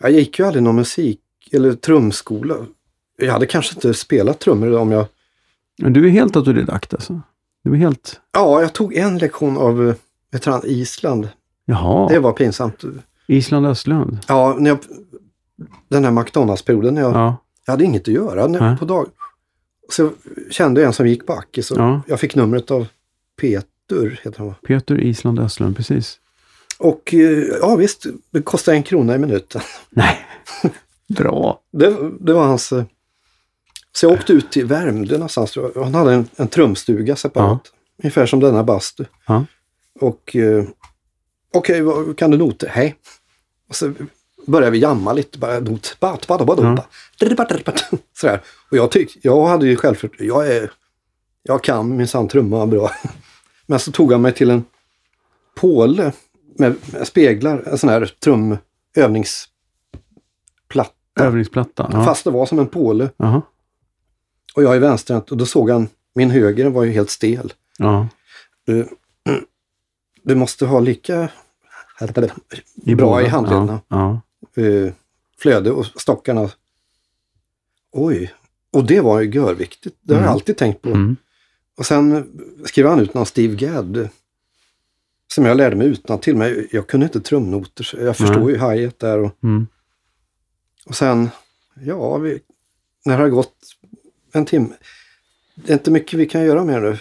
A: Jag gick ju aldrig någon musik eller trumskola. Jag hade kanske inte spelat trummor om jag...
C: Men du är helt autodidakt alltså? Du är helt...
A: Ja, jag tog en lektion av eh, ett land, Island.
C: Jaha,
A: Det var pinsamt.
C: Island Östlund.
A: Ja, när jag, den här McDonalds-perioden. När jag,
C: Ja.
A: jag hade inget att göra när,
C: Nej.
A: på dagen. Så kände jag en som gick på Ackis och
C: Ja.
A: jag fick numret av Peter, heter han va?
C: Peter Island Östlund, precis.
A: Och eh, ja visst, det kostade en krona i minuten.
C: Nej. *laughs* Bra.
A: Det, det var hans... eh, Så jag åkte ut till Värmdö någonstans. tror jag. Han hade en, en trumstuga separat. Ungefär som denna bastu.
C: Ja.
A: Och... eh, Okej, vad- kan du noter? Hej. Och så började vi jamma lite. Bara not. Bat, bat, bat, bat, bat, bat. Sådär. Och jag tyckte... Jag hade ju självförtroende. Jag är... Jag kan minsann trumma bra. *laughs* Men så tog han mig till en påle med med speglar. En sån här trumövningsplatta.
C: Övningsplatta. Ja.
A: Fast det var som en påle.
C: Jaha.
A: Och jag är vänsterhänt och då såg han, min höger var ju helt stel.
C: Ja.
A: Du, du måste ha lika bra
C: båda.
A: i handlederna.
C: Ja. ja.
A: Eh, flöde och stockarna. Oj, och det var ju görviktigt. Det har jag
C: Mm.
A: alltid tänkt på.
C: Mm.
A: Och sen skrev han ut någon Steve Gadd. eh, Som jag lärde mig utan till mig. Jag kunde inte trumnoter. så Jag förstod ju hi-hat där. Och,
C: Mm.
A: Och sen, ja, vi, när det har gått en timme. Det är inte mycket vi kan göra med det.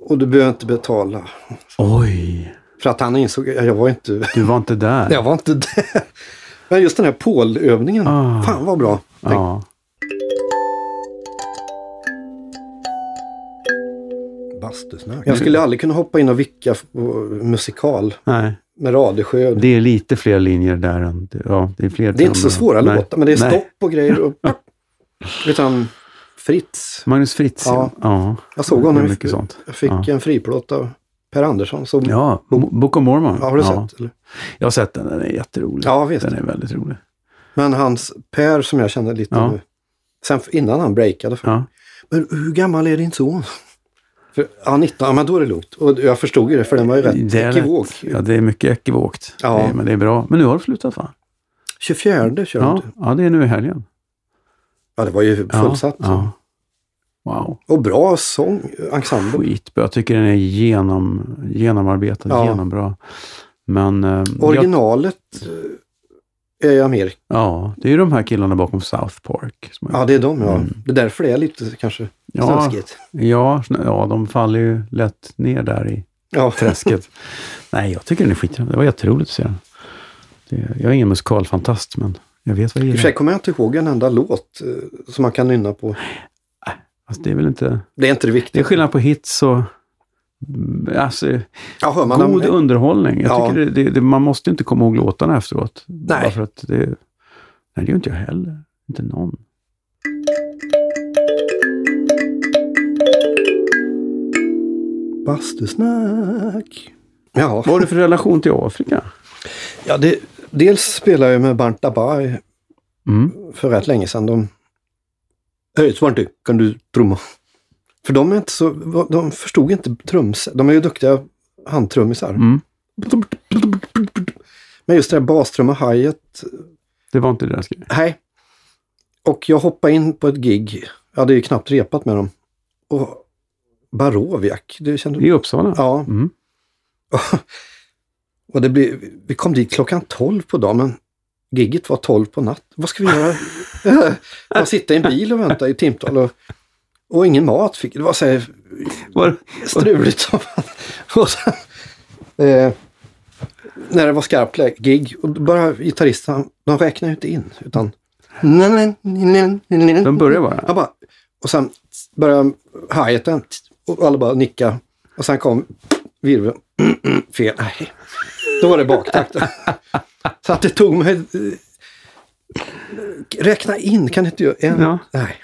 A: Och du behöver inte betala.
C: Oj,
A: För att han insåg, ja, jag var inte, *laughs*
C: du var inte där.
A: jag var inte där. Men just den här polövningen,
C: Ah.
A: fan vad bra. Tänk,
C: Ja.
A: Bastusnack. Jag skulle aldrig kunna hoppa in och vicka på musikal
C: Nej,
A: med Radesjö. Det,
C: det är lite fler linjer där än... Ja, det är
A: är
C: fler
A: inte så
C: trummor.
A: svåra
C: Ehm, Nej.
A: låtar, men det är
C: Nej.
A: stopp och grejer. Och, utan Fritz.
C: Magnus Fritz, ja. ja.
A: Jag såg honom.
C: Det är
A: i-
C: mycket sånt.
A: Jag fick
C: Ja.
A: en friplåt av Per Andersson. Som, ja.
C: Ja, Mo- Book of Mormon.
A: har du sett? Eller?
C: Jag har sett den, den är jätterolig.
A: Ja, visst.
C: Den är väldigt rolig.
A: Men hans Per som jag känner lite
C: Ja.
A: nu. Sen f- innan han breakade. För,
C: Ja.
A: Men hur gammal är din son? För, ja, 19. Ja, men då är det lugnt. Och jag förstod ju det, för den var ju rätt
C: Det är rätt.
A: ekivok.
C: Ja, det är mycket ekivokt.
A: Ja.
C: Det är, men det är bra. Men nu har det slutat va?
A: 24 körde
C: Ja,
A: du.
C: ja, det är nu i helgen.
A: Ja, det var ju
C: Ja,
A: fullsatt.
C: Ja. Wow,
A: Och bra sång, ensemble.
C: skitbra. Jag tycker den är genom, genomarbetad,
A: Ja.
C: genombra. Men... eh, jag,
A: Originalet eh, är i Amerika.
C: ja, det är ju de här killarna bakom South Park. Som har-
A: Ja, det är de ja. Det är därför det är lite kanske
C: Mm. ja,
A: snaskigt.
C: ja, sn- ja, de faller ju lätt ner där i
A: Ja.
C: träsket. Nej, jag tycker den är skitbra. Det var jätteroligt att se den. Det, jag är ingen musikalfantast, men jag vet vad
A: *laughs*
C: jag
A: I och för sig
C: gillar.
A: kommer jag inte ihåg en enda låt eh, som man kan nynna på.
C: Alltså, det är väl inte...
A: Det är inte det
C: Det är
A: viktiga.
C: skillnad på hits och Alltså,
A: Ja, hör man
C: god
A: dem?
C: underhållning. Jag
A: Ja.
C: tycker det, det, det, man måste inte komma ihåg låtarna efteråt.
A: Nej.
C: Bara för att det, nej, det gör inte jag heller. Inte någon.
A: Bastusnack. Ja,
C: Vad har du för relation till Afrika?
A: ja det, dels spelade jag med Bernt Dabaj
C: Mm.
A: för rätt länge sedan. De... Hej Svante, kan du trumma? För de är inte så, de förstod inte trums. De är ju duktiga handtrummisar.
C: Mm.
A: Men just det där bastrumma hajet,
C: Det var inte deras grej.
A: nej. Och jag hoppade in på ett gig, jag hade ju knappt repat med dem. Och Baroviak, det kände
C: I Uppsala?
A: Ja.
C: Mm.
A: Och det blev, vi kom dit klockan 12 på dagen, men gigget var 12 på natt. Vad ska vi göra? Eh, Bara sitta i en bil och vänta i timtal och, och ingen mat. Fick, det var så här
C: Var,
A: struligt som fan. *laughs* Och sen, eh, när det var skarpt lä- gig, och då bara gitarristen, han- de räknar ju inte in. Utan,
C: de började bara.
A: han bara, och sen började hi-haten och alla bara nicka. Och sen kom virveln. *clears throat* Fel. Nej. Då var det baktakt. *laughs* Så att det tog mig... eh, Räkna in, kan inte jag? En,
C: Ja.
A: Nej.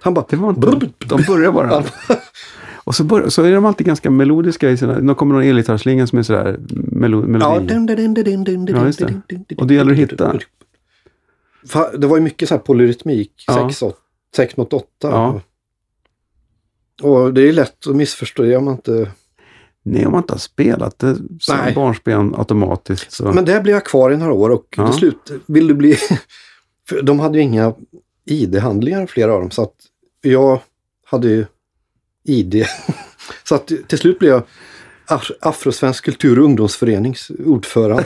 A: Han bara...
C: Det var inte, de började bara. *laughs* Och så, bör, så är de alltid ganska melodiska i sina... Nu kommer någon elgitarrslinga som är sådär melo,
A: Ja,
C: melodi.
A: dun, dun, dun, dun, dun, dun,
C: Ja, just det.
A: dun, dun, dun,
C: Och det gäller att
A: dun,
C: hitta.
A: dun, dun, dun. Fa- Det var ju mycket så här polyrytmik,
C: Ja.
A: sex åt- sex mot åtta.
C: Ja.
A: Och det är ju lätt att missförstå om man inte...
C: Nej, om man inte har spelat det som
A: Nej.
C: barnsben automatiskt. Så.
A: Men där blev jag kvar i några år och
C: Ja.
A: till slut ville du bli... *laughs* För de hade ju inga ID-handlingar, flera av dem, så att jag hade ju ID. *laughs* Så att till slut blev jag Af- Afrosvensk kultur och ungdomsförenings ordförande.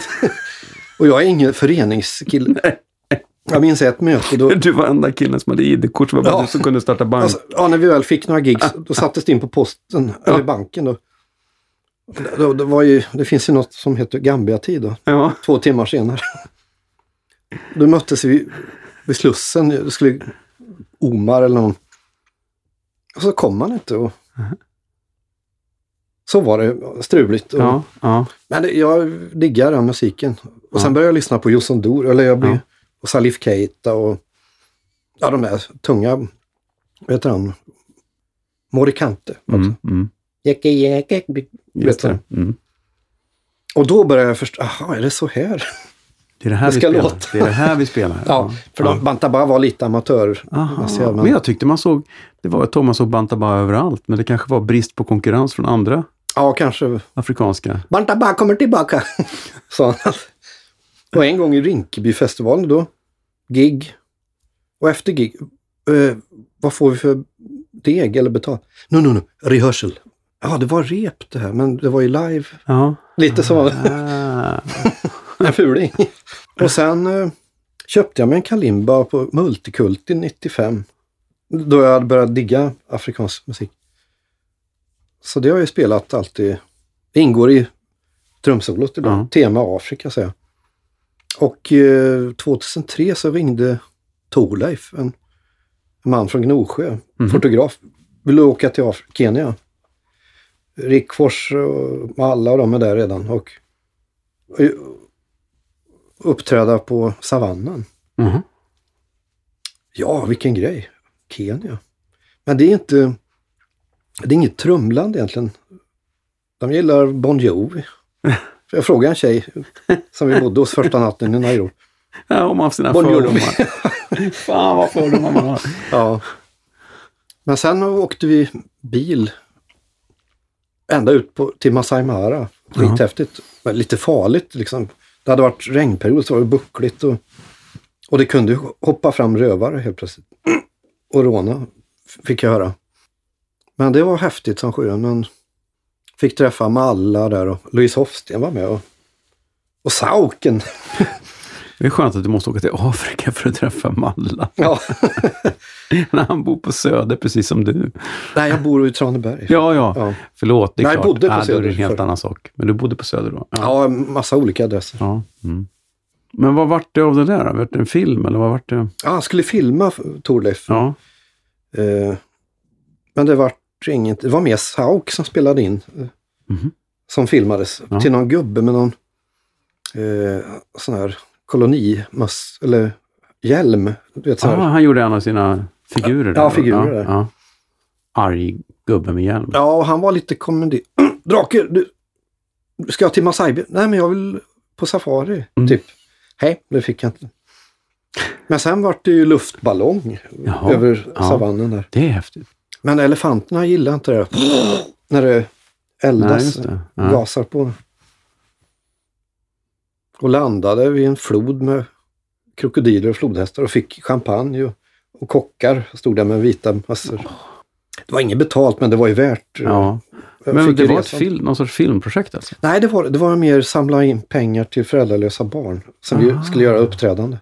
A: *laughs* Och jag är ingen föreningskille. Jag minns ett möte
C: *laughs*
A: då...
C: *laughs* Du var enda killen som hade ID-kort, så var bara
A: Ja.
C: du som kunde starta bank.
A: Alltså, ja, när vi väl fick några gigs, då sattes det in på posten, eller banken. Då. Då, då var ju, det finns ju något som heter Gambia-tid. Då
C: ja.
A: två timmar senare. *laughs* Då möttes vi vid Slussen. Det skulle Omar eller någon. Och så kom han inte. Och... Så var det struligt. Och...
C: Ja, ja.
A: Men det, jag diggar den musiken. Och sen började jag lyssna på Jossan Dor, eller jag blev,
C: Ja.
A: och Salif Keita och ja, de där tunga, vad heter han? Morikante.
C: Mm, mm.
A: Jäcke, jäcke,
C: Just
A: vet du.
C: det. Mm.
A: Och då började jag förstå, jaha, är det så här?
C: Det är det här
A: Det
C: vi
A: ska
C: spelar.
A: låta.
C: Det är det här vi *laughs* spelar.
A: Ja, för de, Bantaba var lite amatör.
C: Aha.
A: Alltså, jag-
C: men... jag tyckte man såg, det var Thomas och Bantaba överallt, men det kanske var brist på konkurrens från andra
A: Ja, kanske.
C: afrikanska.
A: Bantaba kommer tillbaka, *laughs* sa han. Och en gång i Rinkebyfestivalen då, gig. Och efter gig, eh, vad får vi för deg eller betalt? No, no, no, rehearsal. Ja, det var rep det här, men det var ju live.
C: *laughs* Ja.
A: Lite som
C: Ah.
A: en fuling. Och sen eh, köpte jag mig en kalimba på Multikulti 95. Då jag hade börjat digga afrikansk musik. Så det har jag ju spelat alltid. Det ingår i trumsolot ibland.
C: Ja.
A: Tema Afrika säger jag. Och eh, 2003 så ringde Torleif, en en man från Gnosjö, fotograf. Ville åka till Af- Kenya. Rick Fors och alla och de är där redan. Och, och uppträda på savannen.
C: Mhm.
A: Ja, vilken grej. Kenya. Men det är inte... Det är inget trumland egentligen. De gillar Bon Jovi. För Jag frågade en tjej som vi bodde hos första natten i Nairobi.
C: Ja, om man har sina
A: Bon Jovi. *laughs*
C: fördomar. Fan vad fördomar man har.
A: Ja. Men sen åkte vi bil ända ut på, till Masai Mara. Skithäftigt. Men lite farligt liksom. Det hade varit regnperiod så var det buckligt och, och det kunde hoppa fram rövare helt plötsligt. Och råna, f- fick jag höra. Men det var häftigt som sjuan. Men fick träffa Malla där och Louise Hofsten var med. Och, och Sauken!
C: Det är skönt att du måste åka till Afrika för att träffa Malla.
A: Ja.
C: När han bor på Söder, precis som du.
A: *laughs* Nej, jag bor i Traneberg.
C: Ja, ja.
A: Ja.
C: Förlåt, det är
A: Nej, jag
C: klart.
A: bodde på
C: Ah, Då är det
A: Söder
C: en helt
A: förr.
C: annan sak. Men du bodde på Söder då?
A: ja, massa olika adresser.
C: Ja. Mm. Men vad vart det av det där? då? Vart det en film eller vad vart det?
A: Ja, han skulle filma Torleif.
C: Ja.
A: Eh, men det vart inget. Det var mer Sauk som spelade in. eh,
G: Mhm.
A: Som filmades
G: Ja.
A: till någon gubbe med någon eh, sån här kolonimöss, eller hjälm. Du vet, så
G: Ah,
A: här.
G: han gjorde en av sina figurer.
A: Ja,
G: där.
A: figurer
G: Ja,
A: där.
G: ja. Arg gubbe med hjälm.
A: Ja, och han var lite kommendig. *clears throat* Drake, du, ska jag till Masaibi? Nej, men jag vill på safari,
G: Mm.
A: typ. Hej, det fick jag inte. Men sen var det ju luftballong
G: Jaha,
A: över
G: ja.
A: savannen där.
G: Det är häftigt.
A: Men elefanterna gillar
G: *gasps*
A: inte det. När det
G: Nej,
A: eldas,
G: just det. Ja.
A: gasar på. Och landade vid en flod med krokodiler och flodhästar och fick champagne och, och kockar. Stod där med vita massor. Det var inget betalt, men det var ju värt.
G: Ja.
A: Jag
G: Men
A: fick
G: det
A: ju
G: var ett
A: resan.
G: film, någon sorts filmprojekt alltså?
A: Nej, det var, det var mer samla in pengar till föräldralösa barn som
G: Ah.
A: vi skulle göra uppträdande.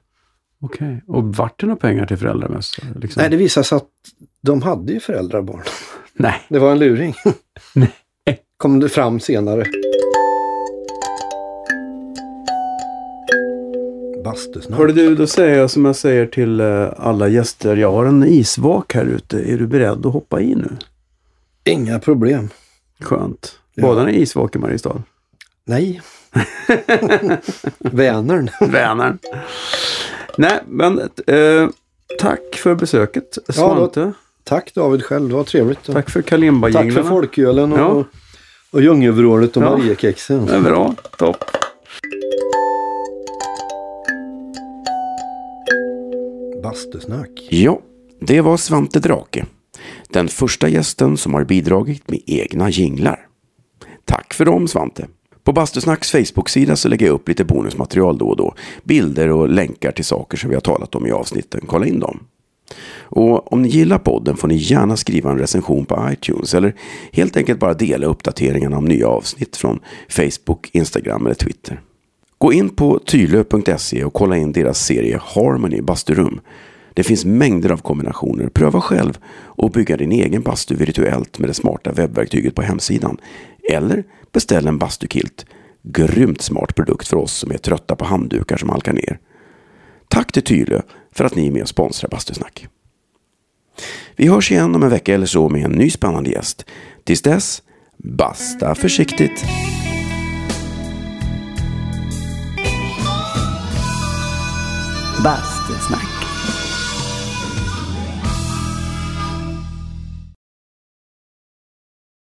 G: Okej. Och vart det några pengar till föräldramössor? Liksom?
A: Nej, det visade sig att de hade ju föräldrar och barn.
G: Nej.
A: Det var
G: *laughs*
A: en luring. Kom det fram senare. Bastusnack.
G: Hörde du,
C: då säger jag som jag säger till eh, alla gäster. Jag har en isvak här ute. Är du beredd att hoppa i nu?
A: Inga problem.
G: Skönt. Badar ni i isvak i Mariestad? *laughs*
A: Nej. Vänern.
G: Vänern. Nej, men eh, tack för besöket Svante.
A: Tack David själv, det var trevligt.
G: Tack för
A: Tack för
G: Kalimba-jinglarna.
A: folkölen och,
G: Ja.
A: och djungelvrålet och
G: Ja.
A: Mariekexen.
G: Det är bra. Topp.
A: Bastusnack.
C: Ja, det var Svante Drake. Den första gästen som har bidragit med egna jinglar. Tack för dem Svante. På Bastusnacks Facebook-sida så lägger jag upp lite bonusmaterial då och då. Bilder och länkar till saker som vi har talat om i avsnitten. Kolla in dem. Och om ni gillar podden får ni gärna skriva en recension på iTunes eller helt enkelt bara dela uppdateringarna om nya avsnitt från Facebook, Instagram eller Twitter. Gå in på tylö.se och kolla in deras serie Harmony Basturum. Det finns mängder av kombinationer. Pröva själv och bygga din egen bastu virtuellt med det smarta webbverktyget på hemsidan. Eller beställ en bastukilt. Grymt smart produkt för oss som är trötta på handdukar som halkar ner. Tack till Tylö för att ni är med och sponsrar Bastusnack. Vi hörs igen om en vecka eller så med en ny spännande gäst. Tills dess, basta försiktigt!
H: Bastusnack.